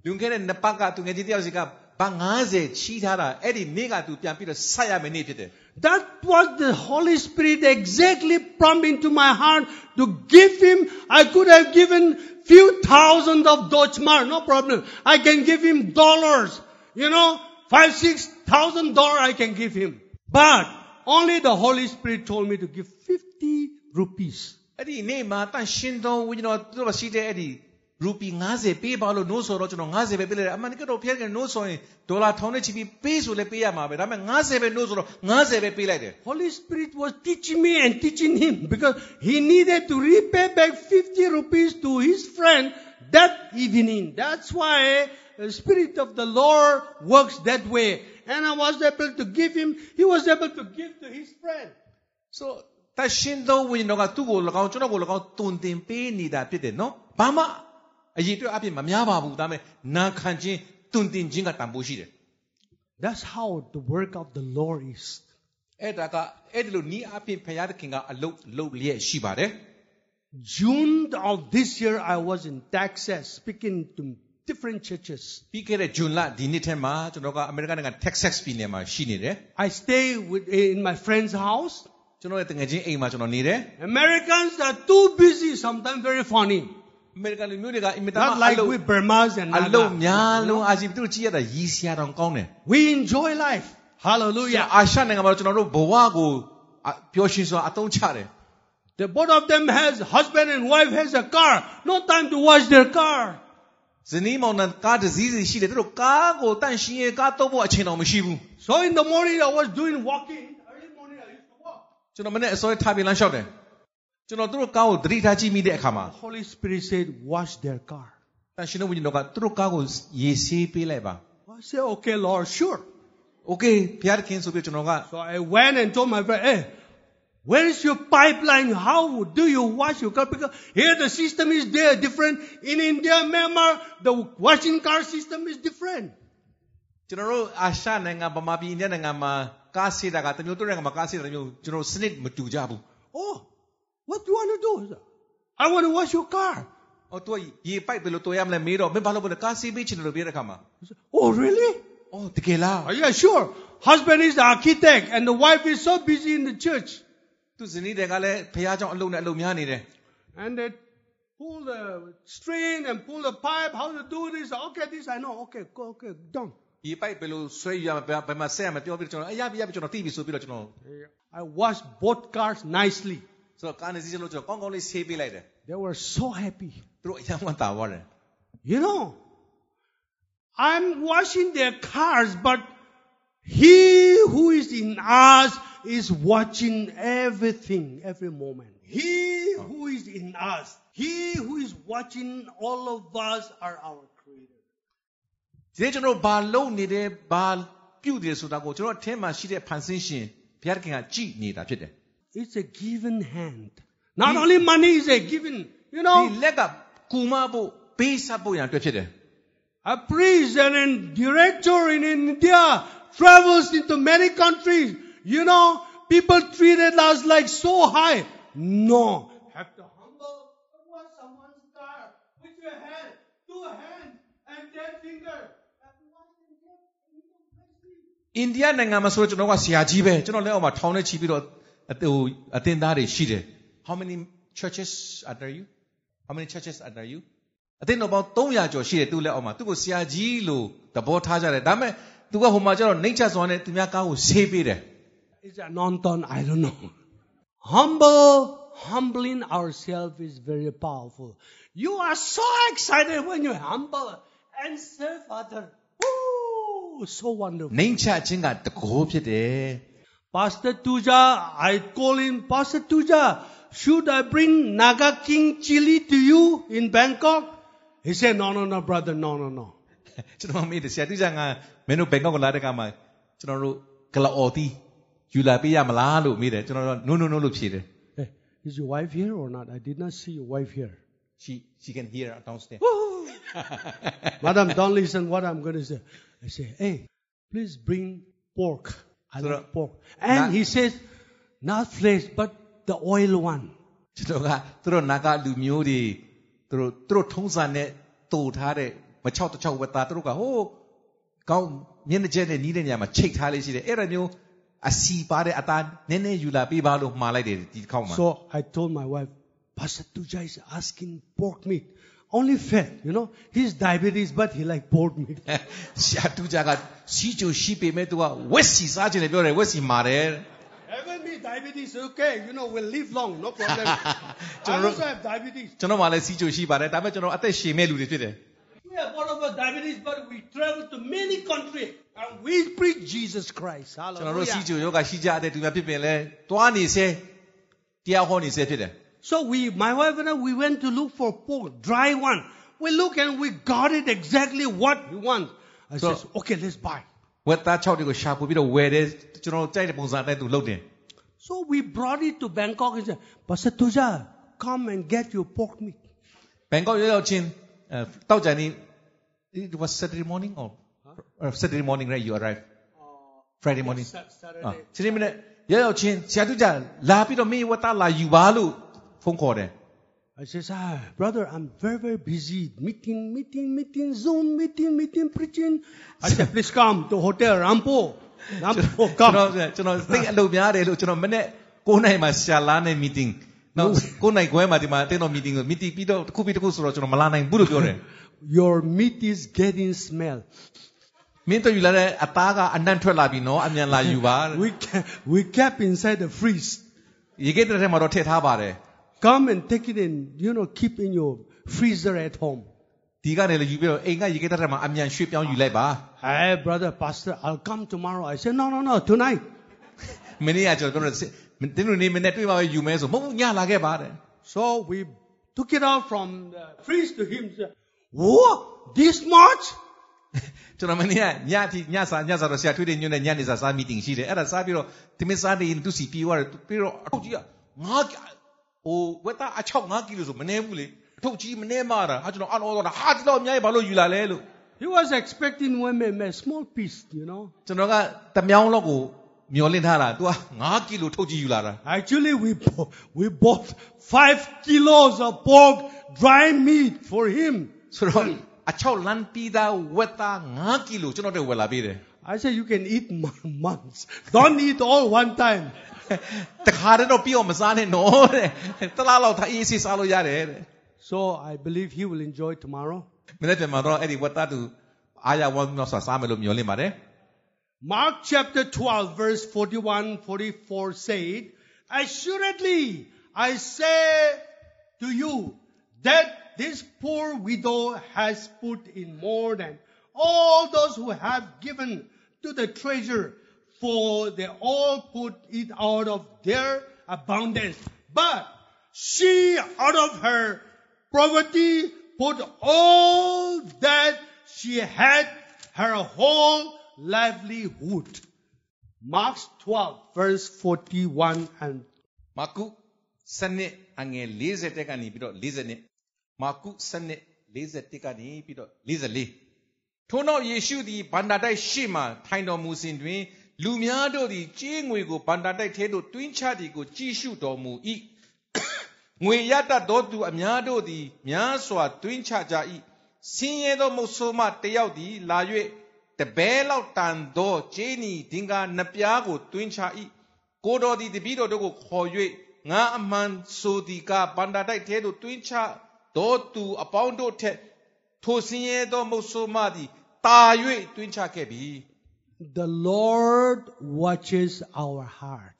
S4: လွန်ခဲ့တဲ့နှစ်ပတ်ကသူငယ်ချင်းတယောက်စီကဘာ90ချီးထားတာအဲ့ဒီနေ့ကသူပြန်ပြီးတော့ဆက်ရမယ်နေ့ဖြစ်တယ်
S3: That was the Holy Spirit exactly prompt into my heart to give him. I could have given few thousand of Deutschmark, no problem. I can give him dollars, you know, five, six thousand dollar I can give him. But only the Holy Spirit told me to give 50 rupees.
S4: အဲ့ဒီနေ့မှာတန်ရှင်တော်ဝိညာဉ်တော်သူတို့ရှိတဲ့အဲ့ဒီရူပီ90ပေးပါလို့နိုးဆိုတော့ကျွန်တော်90ပဲပေးလိုက်တယ်အမှန်တကယ်တော့ဖျက်ကန်နိုးဆိုရင်ဒေါ်လာထောင်နဲ့ချီပြီးပေးဆိုလဲပေးရမှာပဲဒါပေမဲ့90ပဲနိုးဆိုတော့90ပဲပေးလိုက်တယ်
S3: Holy Spirit was teaching me and teaching him because he needed to repay back 50 rupees to his friend that evening. That's why the Spirit of the Lord works that way. And I was able to give him, he was able to give to his friend.
S4: so တန်ရှင်သောဝိညာဉ်တော်ကသူ့ကို၎င်းကျွန်တော်ကို၎င်းတုန်တင်ပေးနေတာဖြစ်တယ်နော်ဘာမှအရေးအတွက်အပြည့်မများပါဘူးဒါပေမဲ့နာခံခြင်းတုန်တင်ခြင်းကတန်ဖိုးရှိတယ်
S5: That's how the work of the Lord is.
S4: အဲ့ဒါကအဲ့ဒီလိုနီးအပြည့်ဖရာသခင်ကအလုတ်လုတ်လျက်ရှိပါတယ်
S3: June of this year, I was in Texas speaking to different churches.
S4: ပြီးခဲ့တဲ့ဂျွန်လဒီနှစ်ထဲမှာကျွန်တော်ကအမေရိကန်နိုင်ငံ Texas ပြည်နယ်မှာရှိနေတယ်
S3: I stay with, in my friend's house.
S4: ကျွန်တော်ရဲ့တငယ်ချင်းအိမ်မှာကျွန်တော်နေတယ်
S3: Americans are too busy, sometimes very funny.
S4: အမေရိကန်လူမျိုးတွေကအင်မတန်
S3: Not
S4: အ
S3: like
S4: လုတ်
S3: we Burmas and
S4: အလုတ်
S3: Naga.
S4: များလုံးအာရှိသူတို့ကြည့်ရတာရီစရာတောင်ကောင်းတယ်
S3: We enjoy life. Hallelujah.
S4: အာရှနိုင်ငံမှာတော့ကျွန်တော်တို့ဘဝကိုအပျော်ရွှင်စွာအသုံးချတယ်
S3: The both of them has husband and wife has a car. No time to wash their car.
S4: ဇနီးမောင်နှံကားတစ်စီးစီရှိတယ်သူတို့ကားကိုတန့်ရှင်းရေးကားတော့ဖို့အချိန်တော်မရှိဘူး
S3: So in the morning I was doing walking. Early morning I used to walk.
S4: ကျွန်တော်မနေ့အစောရထားပြီးလမ်းလျှောက်တယ်ကျွန်တော်သူတို့ကားကိုသတိထားကြည့်မိတဲ့အခါမှာ
S3: The Holy Spirit said, wash their car.
S4: တန့်ရှင်းတော်ဝိညာဉ်တော်ကသူတို့ကားကိုရေဆေးပေးလိုက်ပါ
S3: I said, okay, Lord, sure.
S4: okay ဘုရားသခင်ဆိုပြီးကျွန်တော်က
S3: So I went and told my friend, hey, where is your pipeline? How do you wash your car? Because here the system is there, different. In India, Myanmar, the washing car system is different.
S4: ကျွန်တော်တို့အာရှနိုင်ငံဗမာပြည်အိန္ဒိယနိုင်ငံမှာကားဆေးတာကတစ်မျိုးတစ်နိုင်ငံမှာကားဆေးတာတစ်မျိုးကျွန်တော်စနစ်မတူကြဘူး
S3: Oh, what do you want to do? I want to wash your car.
S4: အော်သူကရေပိုက်ဘယ်လိုတော်ရမလဲမေးတော့မင်းဘာလို့ဘယ်လိုကားဆေးပေးချင်တယ်လို့ပြောတဲ့အခါမှာ
S3: I said, oh, really?
S4: အော်တကယ်လား
S3: Oh, yeah, sure. Husband is the architect and the wife is so busy in the church.
S4: သူဇနီးတွေကလည်းဖះเจ้าအလုံးနဲ့အလုံးများနေတယ်
S3: And they pull the string and pull the pipe, how to do this. Okay, this I know. Okay, go, okay, done.
S4: ဒီပိုက်ဘယ်လိုဆွဲယူရမလဲဘယ်မှာဆက်ရမလဲပြောပြီးတော့ကျွန်တော်အရာပြရပြကျွန်တော်သိပြီဆိုပြီးတော့ကျွန်တော်
S3: I washed both cars nicely.
S4: ဆိုတော့ကာနေစီစလို့ကျွန်တော်ကောင်းကောင်းလေးဆေးပေးလိုက်တယ်
S3: They were so happy.
S4: သူတို့အယံဝတ်တာဝါတယ်
S3: You know, I'm washing their cars, but he who is in us is watching everything, every moment. He who is in us, he who is watching all of us are our creator.
S4: ဒီနေ့ကျွန်တော်တို့ဘာလုပ်နေတယ်ဘာပြုတ်တယ်ဆိုတာကိုကျွန်တော်အထင်းမှာရှိတဲ့ဖန်ဆင်းရှင်ဘုရားသခင်ကကြည်နေတာဖြစ်တယ်
S3: It's a given hand. Not only money is a given, you know.
S4: ဒီလက်ကကူမဖို့ပေးဆပ်ဖို့ရန်အတွက်ဖြစ်တယ်
S3: A priest and a director in India travels into many countries. You know, people treated us like so high. No. Have to humble wash someone's car with your hand, two hands, and ten fingers.
S4: အိန္ဒိယနိုင်ငံမှာဆိုတော့ကျွန်တော်ကဆရာကြီးပဲကျွန်တော်လက်အောက်မှာထောင်နဲ့ချီပြီးတော့အဟိုအသင်သားတွေရှိတယ် How many churches are there you How many churches are there you အသင်တော်ပေါင်း300ကျော်ရှိတယ်သူ့လက်အောက်မှာသူ့ကိုဆရာကြီးလို့သဘောထားကြတယ်ဒါပေမဲ့သူကဟိုမှာကျတော့နှိမ့်ချစွာနဲ့သူများကားကိုဆေးပေးတယ်
S3: It's a non-ton, I don't know. Humble, humbling ourselves is very powerful. You are so excited when you humble and serve others. Woo! So wonderful.
S4: နှိမ့်ချခြင်းကတကောဖြစ်တယ်
S3: Pastor Tuja, I call him, Pastor Tuja, should I bring Naga King chili to you in Bangkok? He said, no, no, no, brother, no, no, no.
S4: ကျွန်တော်မေးတယ်ဆရာသူကငါမင်းတို့ဘန်ကောက်ကိုလာတဲ့ကမှာကျွန်တော်တို့ကလော်တီယူလာပေးရမလားလို့မေးတယ်ကျွန်တော်တို့ no no no လို့ဖြေတယ်
S3: Hey, is your wife here or not? I did not see your wife here.
S4: she she can hear downstairs
S3: Madam, don't listen what I'm going to say. I say, hey, please bring pork. I
S4: So
S3: love
S4: the-
S3: pork. And
S4: Na-
S3: he says, not flesh, but the oil one.
S4: ကျွန်တော်ကသူတို့နာကလူမျိုးတွေသူတို့သူတို့ထုံးစံနဲ့တူထားတဲ့မချောက်တချောက်ဝက်သားသူတို့ကဟိုးကောင်းမျက်နှာကျက်နဲ့နီးတဲ့နေရာမှာချိတ်ထားလေးရှိတယ်အဲ့ဒါမျိုးအစီပါတဲ့အသားနည်းနည်းယူလာပေးပါလို့မှာလိုက်တယ်ဒီခေါက်မှာ
S3: So I told my wife, Pastor Tuja is asking pork meat. Only fat, you know. He's diabetes, but he like pork meat.
S4: ဆ ရာတူကြကစီချိုရှိပေမဲ့သူကဝက်စီစားခြင်းလည်းပြောတယ်ဝက်စီမာတယ်
S3: Even me, diabetes, okay. You know, we'll live long, no problem. I
S4: General-
S3: also have diabetes.
S4: ကျွန်တော်မှလည်းစီချိုရှိပါတယ်ဒါပေမဲ့ကျွန်တော်အသက်ရှင်မဲ့လူတွေဖြစ်တယ်
S3: We are both of us diabetes, but we travel to many countries and we preach Jesus Christ.
S4: ကျွန်တော်တို့စီ
S3: Hallelujah.
S4: ချိုယောဂရှိကြတဲ့သူများဖြစ်ပင်လဲတွားနေစေတရားဟောနေစေဖြစ်တယ်
S3: So we, my wife and I, we went to look for pork, dry one. We look and we got it exactly what we want. I
S4: So-
S3: says, okay, let's buy.
S4: ဝက်သား6တွေကိုရှာပူပြီးတော့ဝယ်တယ်ကျွန်တော်တို့ကြိုက်တဲ့ပုံစံအတိုင်းသူလုပ်တယ်
S3: So we brought it to Bangkok and said, Pastor Tuja, come and get your pork meat.
S4: ဘန်ကောက်ရောက်ရောက်ချင်းအဲတောက်ကြံနေ it was Saturday morning or or Saturday morning right you arrived Friday morning
S3: Sa-
S4: အာ
S3: Saturday.
S4: ဒီနေ့မနေ့ရောက်ရောက်ချင်းဆရာတူကြလာပြီးတော့မင်းဝတ်တာလာယူပါလို့ဖုန်းခေါ်တယ်
S3: I says, ah, brother, I'm very, very busy. Meeting, meeting, meeting, Zoom, meeting, meeting, preaching. I said, please come to Hotel Rampo.
S4: ကျွန်
S3: Rampo,
S4: တော်
S3: come.
S4: ကျွန်တော်သိအလုပ်များတယ်လို့ကျွန်တော်မနေ့9နိုင်မှာဆရာလာနေ meeting နောက်9နိုင်ခွဲမှာဒီမှာအတင်းတော် meeting ကို meeting ပြီးတော့တစ်ခုပြီးတစ်ခုဆိုတော့ကျွန်တော်မလာနိုင်ဘူးလို့ပြောတယ်
S3: Your meat is getting smell.
S4: မင်းတို့ယူလာတဲ့အသားကအနံ့ထွက်လာပြီနော်အမြန်လာယူပါတဲ့
S3: We, ke- we kept inside the freeze.
S4: ရေကဲတဲ့ထဲမှာတော့ထည့်ထားပါတယ်
S3: Come and take it and, you know, keep in your freezer at home.
S4: ဒီကနေလည်းယူပြီးတော့အိမ်ကရေကဲတဲ့ထဲမှာအမြန်ရွှေ့ပြောင်းယူလိုက်ပါ
S3: Hey, brother, pastor, I'll come tomorrow. I said, no, no, no, tonight.
S4: မင်းကြီးကကျွန်တော်ပြောတယ်တင်းတို့နေမနဲ့တွေ့ပါပဲယူမဲဆိုမဟုတ်ဘူးညလာခဲ့ပါတယ်
S3: So we took it out from the freeze to him. He said, Whoa, this much?
S4: ကျွန်တော်မနေ့ကညအထိညစာညစာတော့ဆရာထွေးတဲ့ညွန့်နဲ့ညနေစာစား meeting ရှိတယ်အဲ့ဒါစားပြီးတော့ဒီမင်းစားနေရင်သူစီပြေးသွားတယ်သူပြီးတော့အထုပ်ကြီးကငါးကီဟိုဝက်သားအချောက်ငါးကီလိုဆိုမနှဲဘူးလေအထုပ်ကြီးမနှဲမတာဟာကျွန်တော်အလောတော့တာဟာဒီတော့အများကြီးဘာလို့ယူလာလဲလို့
S3: He was expecting women, a small piece, you know.
S4: ကျွန်တော်ကတမြောင်းလောက်ကိုမျောလင့်ထားတာ तू က9ကီလိုထုတ်ကြည့်ယူလာတာ
S3: Actually, we, bo- we bought five kilos of pork, dry meat for him.
S4: ဆိုတော့အချောက်လန်းပီးသားဝက်သား9ကီလိုကျွန်တော်တို့ဝယ်လာပေးတယ်
S3: I said, you can eat mon- months. Don't eat all one time.
S4: တခါတည်းတော့ပြီးအောင်မစားနဲ့နော်တဲ့တစ်လားလောက်သာအေးအေးဆေးစားလို့ရတယ်တဲ့
S3: So I believe he will enjoy tomorrow.
S4: မနေ့ပြန်မှာတော့အဲ့ဒီဝက်သားသူအားရဝမ်းမြောက်စွာစားမယ်လို့မျှော်လင့်ပါတယ်
S3: Mark chapter 12 verse 41, 44 said, Assuredly, I say to you that this poor widow has put in more than all those who have given to the treasure, for they all put it out of their abundance. But she out of her poverty put all that she had, her whole livelihood. Mark 12, verse 41 and
S4: မာကုစနစ်အငယ်40တက်ကနေပြီးတော့40နှစ်မာကုစနစ်40တက်ကနေပြီးတော့44ထို့နောက်ယေရှုသည်ဗန္တာတိုက်ရှေ့မှထိုင်တော်မူစဉ်တွင် လူများတို့သည်ကြေးငွေကိုဗန္တာတိုက်ထဲသို့တွင်းချသည်ကိုကြည့်ရှုတော်မူ၏ ငွေရတတ်သောသူအများတို့သည်များစွာတွင်းချကြ၏ဆင်းရဲသောမုတ်ဆိုးမှတယောက်သည်လာ၍တပဲလောက်တန်သောကျင်းဤဒင်္ဂါနှစ်ပြားကိုတွင်းချ၏ကိုတော်သည်တပည့်တော်တို့ကိုခေါ်၍ငါအမှန်ဆိုသည်ကဗန္တာတိုက်ထဲသို့တွင်းချသောသူအပေါင်းတို့ထက်ထိုဆင်းရဲသောမုတ်ဆိုးမှသည်တာ၍တွင်းချခဲ့ပြီ
S5: The Lord watches our heart.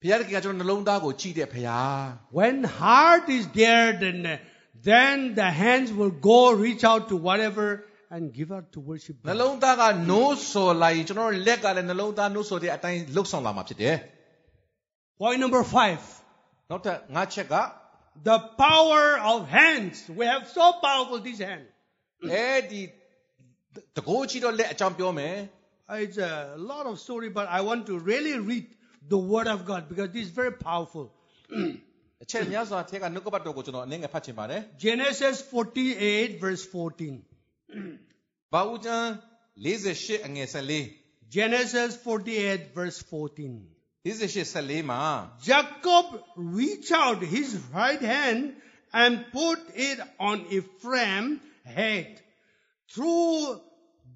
S4: ဘုရားသခင်ကကျွန်တော်နှလုံးသားကိုကြည့်တဲ့ဘုရား
S3: When heart is there, then, then the hands will go reach out to whatever and give out to worship
S4: နှ
S3: God.
S4: လုံးသားကနိုးစော်လာရင်ကျွန်တော်တို့လက်ကလည်းနှလုံးသားနိုးစော်တဲ့အတိုင်းလှုပ်ဆောင်လာမှာဖြစ်တယ်
S3: Point number five,
S4: ။နောက်ထပ်ငါးချက်က
S3: the power of hands. We have so powerful these hands.
S4: အဲဒီတကိုးကြီးတော့လက်အကြောင်းပြောမယ်
S3: Uh, It's a lot of story, but I want to really read the Word of God because this is very powerful.
S4: ။အချက်များစွာထဲကနှုတ်ကပတ်တော်ကိုကျွန်တော်အနည်းငယ်ဖတ်ချင်ပါတယ်
S3: Genesis 48, verse 14.
S4: ။ဘာဦးကျမ်း48အငယ်14
S3: Genesis 48, verse 14.
S4: 48 14မှာ
S3: Jacob reached out his right hand and put it on Ephraim's head, through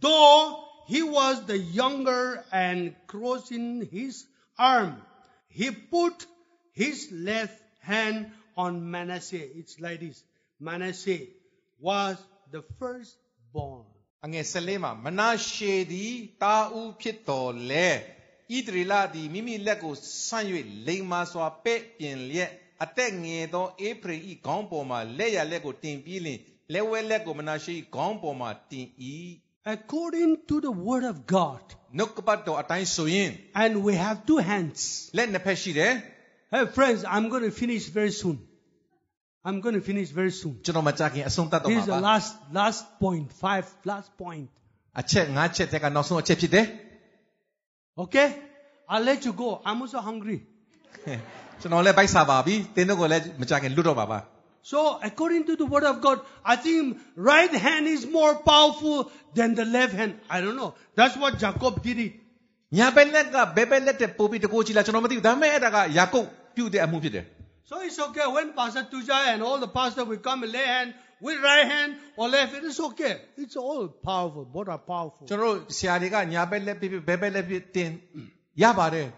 S3: though he was the younger and crossing his arm, he put his left hand on Manasseh. It's like this. Manasseh was the firstborn.
S4: အငယ်14မှာမနာရှေသည်တာဦးဖြစ်တော်လဲဣဒရီလာသည်မိမိလက်ကိုဆန့်၍လိမ်မာစွာပဲ့ပြင်လျက်အသက်ငယ်သောအေဖရိဤခေါင်းပေါ်မှာလက်ရလက်ကိုတင်ပြီးလင်လက်ဝဲလက်ကိုမနာရှေဤခေါင်းပေါ်မှာတင်၏
S3: According to the word of God,
S4: နှုတ်ကပတ်တော်အတိုင်းဆိုရင်
S3: and we have two hands.
S4: လက်နှစ်ဖက်ရှိတယ်
S3: Hey friends, I'm going to finish very soon. I'm going to finish very soon.
S4: ကျွန်တော်မကြခင်အဆုံးသတ်တော်
S3: This
S4: မှာ
S3: is the
S4: ပါ
S3: last last point, five last point.
S4: အချက်၅ချက်တက်ကနောက်ဆုံးအချက်ဖြစ်တယ်
S3: Okay? I'll let you go. I'm also hungry.
S4: ကျွန်တော်လည်းဗိုက်စားပါပြီတင်းတို့ကလည်းမကြခင်လွတ်တော့ပါပါ
S3: So, according to the word of God, I think right hand is more powerful than the left hand. I don't know. That's what Jacob did it.
S4: ညာဘက်လက်ကဘယ်ဘက်လက်တဲ့ပို့ပြီးတကိုးကြည့်လာကျွန်တော်မသိဘူးဒါပေမဲ့အဲ့ဒါကယာကုပ်ပြုတ်တဲ့အမှုဖြစ်တယ်
S3: So it's okay when Pastor Tuja and all the pastor will come and lay hand with right hand or left. It is okay.
S5: It's all powerful. Both are powerful.
S4: ကျွန်တော်တို့ဆရာတွေကညာဘက်လက်ဖြစ်ဖြစ်ဘယ်ဘက်လက်ဖြစ်တင်ရပါတယ်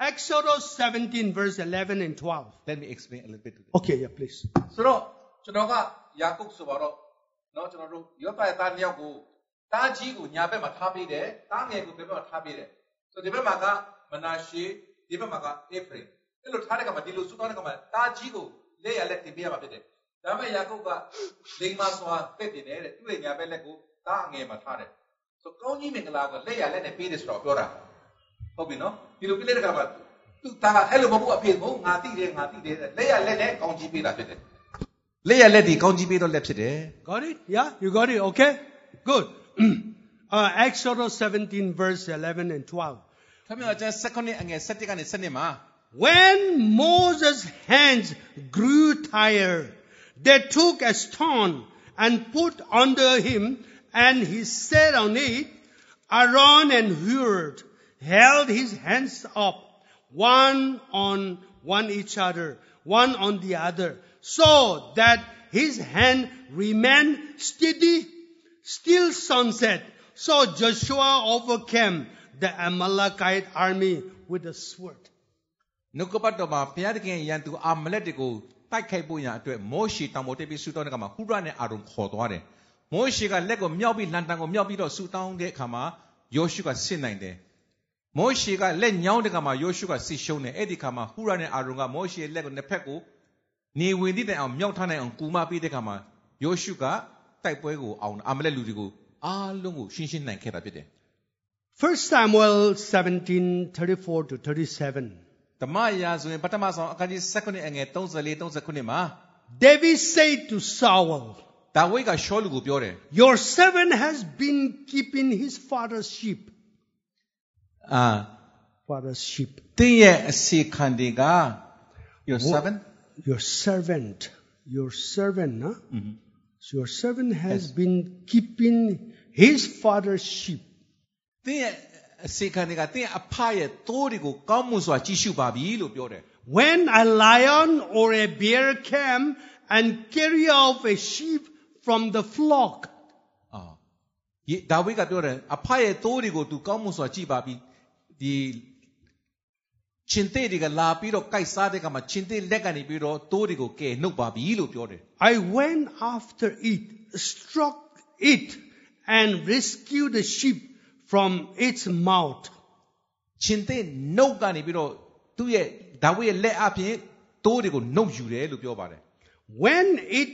S3: Exodus 17 verse 11 and 12.
S4: let me explain a little bit to you
S5: Okay, yeah, please.
S4: ဆိုတော့ကျွန်တော်ကယာကုပ်ဆိုပါတော့เนาะကျွန်တော်တို့ယောသရဲ့သားတစ်ယောက်ကိုတားကြီးကိုညာဘက်မှာထားပေးတယ်တားငယ်ကိုဘယ်ဘက်မှာထားပေးတယ်ဆိုတော့ဒီဘက်မှာကမနာရှေဒီဘက်မှာကအေဖရင်အဲ့လိုထားတဲ့ကမှာဒီလိုစုထားတဲ့ကမှာတားကြီးကိုလက်ရလက်တင်ပေးရမှာဖြစ်တယ်ဒါပေမဲ့ယာကုပ်ကလိန်မာစွာတက်တင်တယ်တဲ့သူ့ရဲ့ညာဘက်လက်ကိုတားငယ်မှာထားတယ်ဆိုတော့ကောင်းကြီးမင်္ဂလာကိုလက်ရလက်နဲ့ပေးတယ်ဆိုတော့ပြောတာ ဟုတ်ပြီနော်ဒီလိုပြလိုက်တဲ့ခါမှာသူ့သားကအဲ့လိုမဟုတ်ဘူးအဖေကငါတိတယ်ငါတိတယ်လက်ရလက်နဲ့ကောင်းကြီးပေးတာဖြစ်တယ်လက်ရလက်ဒီကောင်းကြီးပေးတော့လက်ဖြစ်တယ်
S3: Got it? Yeah, you got it. Okay, good. uh, Exodus 17 verse 11 and 12.
S4: ခမရကျန်16နှစ်အငယ်17ကနေ17မှာ
S3: When Moses' hands grew tired, they took a stone and put under him, and he sat on it. Aaron and Hur held his hands up, one on one each other, one on the other, so that his hand remained steady still sunset. So Joshua overcame the Amalekite army with a sword.
S4: နုကပတ်တော်မှာဘုရားသခင်ရန်သူအာမလက်တွေကိုတိုက်ခိုက်ဖို့ရန်အတွက်မောရှေတောင်ပေါ်တက်ပြီးဆူတောင်းတဲ့ခါမှာဟူရနဲ့အာရုံခေါ်သွားတယ်မောရှေကလက်ကိုမြောက်ပြီးလန်တန်ကိုမြောက်ပြီးတော့ဆူတောင်းတဲ့အခါမှာယောရှုကဆင့်နိုင်တယ်မောရှေကလက်ညောင်းတဲ့ခါမှာယောရှုကဆစ်ရှုံးတယ်အဲ့ဒီခါမှာဟူရနဲ့အာရုံကမောရှေရဲ့လက်ကိုနှစ်ဖက်ကိုနေဝင်သည့်တိုင်အောင်မြောက်ထားနိုင်အောင်ကူမပေးတဲ့ခါမှာယောရှုကတိုက်ပွဲကိုအောင်အာမလက်လူတွေကိုအားလုံးကိုရှင်းရှင်းနိုင်ခဲ့တာဖြစ်တယ်
S3: 1 Samuel 17 34 to 37.
S4: ဓမ္မရာဆိုရင်ပထမဆုံးအခန်းကြီး16အငယ်34 39မှာ
S3: David said to Saul,
S4: ဒါဝိဒ်ကရှောလူကိုပြောတယ်
S3: Your servant has been keeping his father's sheep.
S4: အာ
S5: Father's sheep.
S4: တင်းရဲ့အစီခံတွေက your servant
S5: Your servant. Your servant, huh? So your servant has been keeping his father's sheep.
S4: တင်းရဲ့အစီခံတွေကတင်းအဖရဲ့သိုးတွေကိုကောင်းမှုစွာကြည့်ရှုပါပြီလို့ပြောတယ်
S3: When a lion or a bear came and carried off a sheep from the flock,
S4: အာယေဒါဝိဒ်ကပြောတယ်အဖရဲ့သိုးတွေကိုသူကောင်းမှုစွာကြည့်ပါပြီဒီရှင်သေးတွေကလာပြီးတော့ကြိုက်စားတဲ့ကမှာရှင်သေးလက်ကနေပြီးတော့သိုးတွေကိုကယ်နှုတ်ပါပြီလို့ပြောတယ်
S3: I went after it, struck it, and rescued the sheep from its mouth.
S4: ရှင်သေနှုတ်ကနေပြီးတော့သူ့ရဲ့ဒါဝိဒ်ရဲ့လက်အပြင်တိုးတွေကိုနှုတ်ယူတယ်လို့ပြောပါတယ်
S3: When it,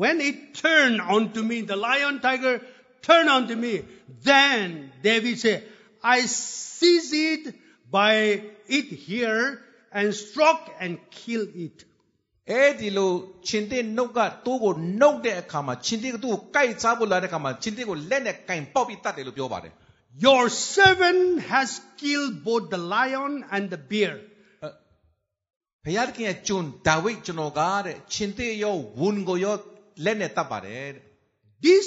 S3: when it turned onto me, the lion tiger turned onto me, then David said, I seized it by it here and struck and killed it.
S4: အဲဒီလိုရှင်သေနှုတ်ကတိုးကိုနှုတ်တဲ့အခါမှာရှင်သေကသူ့ကိုကိုက်စားဖို့လာတဲ့အခါမှာရှင်သေကိုလက်နဲ့ကင်ပေါက်ပြီးတတ်တယ်လို့ပြောပါတယ်
S3: Your servant has killed both the lion and the bear.
S4: ဘုရားသခင်ရဲ့ကျွန်ဒါဝိဒ်ကျွန်တော်ကတဲ့ရှင်သေရောဝန်ကိုရောလက်နဲ့တတ်ပါတယ်တဲ့
S3: This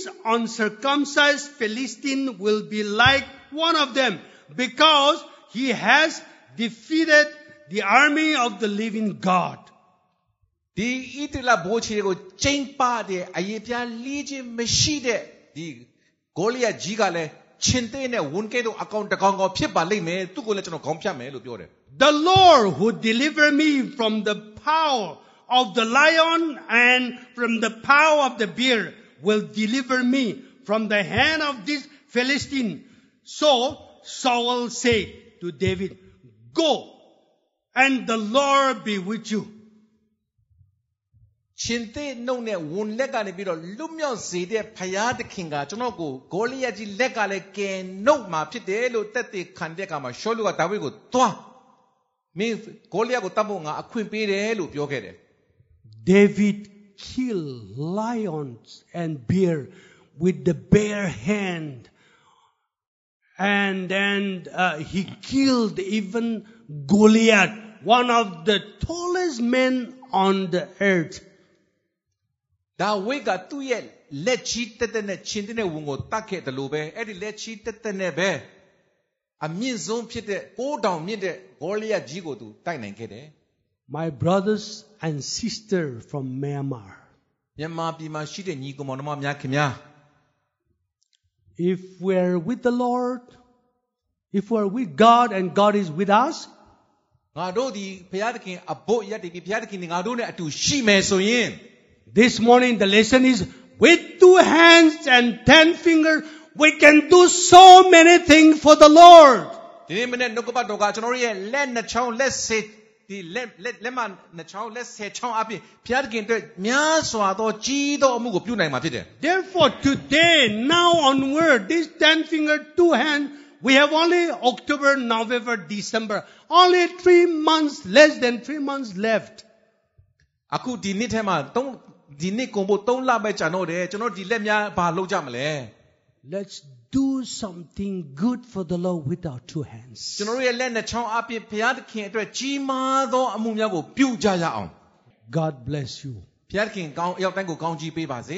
S3: uncircumcised Philistine will be like one of them because he has defeated the army of the living God.
S4: ဒီဣတလဘိုးချီတွေကိုချိန်ပါတဲ့အရေးပြားလေးချင်းမရှိတဲ့ဒီဂေါလိယကြီးကလည်းချင်းသေးနဲ့ဝန်ကဲတော့အကောင့်တစ်ကောင်ကောင်ဖြစ်ပါလိမ့်မယ်သူ့ကိုလည်းကျွန်တော်ခေါင်းဖြတ်မယ်လို့ပြောတယ်
S3: The Lord who delivered me from the power of the lion and from the power of the bear will deliver me from the hand of this Philistine. So Saul said to David, Go and the Lord be with you.
S4: ချင်းသေးနှုတ်နဲ့ဝန်လက်ကနေပြီးတော့လွတ်မြောက်စေတဲ့ဖရာသခင်ကကျွန်တော်ကိုဂေါလိယကြီးလက်ကလည်းကယ်နှုတ်မှာဖြစ်တယ်လို့တက်တဲ့ခံတဲ့အခါမှာရှောလူကဒါဝိဒ်ကိုသွားမင်းဂေါလိယကိုတတ်ဖို့ငါအခွင့်ပေးတယ်လို့ပြောခဲ့တယ်
S5: David killed lions and bear with the bare hand
S3: And then uh, he killed even Goliath, one of the tallest men on the earth.
S4: ဒါဝိတ်ကသူ့ရဲ့လက်ချီတက်တက်နဲ့ရှင်တဲ့ဝန်ကိုတတ်ခဲ့တယ်လို့ပဲအဲ့ဒီလက်ချီတက်တက်နဲ့ပဲအမြင့်ဆုံးဖြစ်တဲ့၉တောင်မြင့်တဲ့ဂေါလိယကြီးကိုသူတိုက်နိုင်ခဲ့တယ်
S5: My brothers and sister from Myanmar,
S4: မြန်မာပြည်မှာရှိတဲ့ညီကောင်မောင်နှမများခင်ဗျာ
S5: if we're with the Lord, if we're with God and God is with us,
S4: ငါတို့ဒီဘုရားသခင်အဖို့ရက်တည်ပြီးဘုရားသခင်ဒီငါတို့နဲ့အတူရှိမယ်ဆိုရင်
S3: This morning the lesson is with two hands and ten fingers we can do so many things for the Lord.
S4: ဒီနေ့မနေ့နှုတ်ကပတ်တော်ကကျွန်တော်တို့ရဲ့လက်နှစ်ချောင်းလက်ဆယ်ဒီလက်လက်လက်မနှစ်ချောင်းလက်ဆယ်ချောင်းအပြင်ဘုရားသခင်အတွက်များစွာသောကြီးသောအမှုကိုပြုနိုင်မှာဖြစ်တယ်
S3: Therefore today, now onward, this ten finger, two hand, we have only October, November, December. Only three months, less than three months left.
S4: အခုဒီနှစ်ထဲမှာသုံးဒီနှစ်ကုန်ဖို့3လပဲကြာတော့တယ်ကျွန်တော်ဒီလက်များဘာလုပ်ကြမလဲ
S5: let's do something good for the Lord with our two hands.
S4: ကျွန်တော်တို့ရဲ့လက်နှစ်ချောင်းအပြင်ဘုရားသခင်အတွက်ကြီးမားသောအမှုများကိုပြုကြရအောင်
S5: God bless you.
S4: ဘုရားသခင်ကောင်းအရောက်တိုင်းကိုကောင်းကြီးပေးပါစေ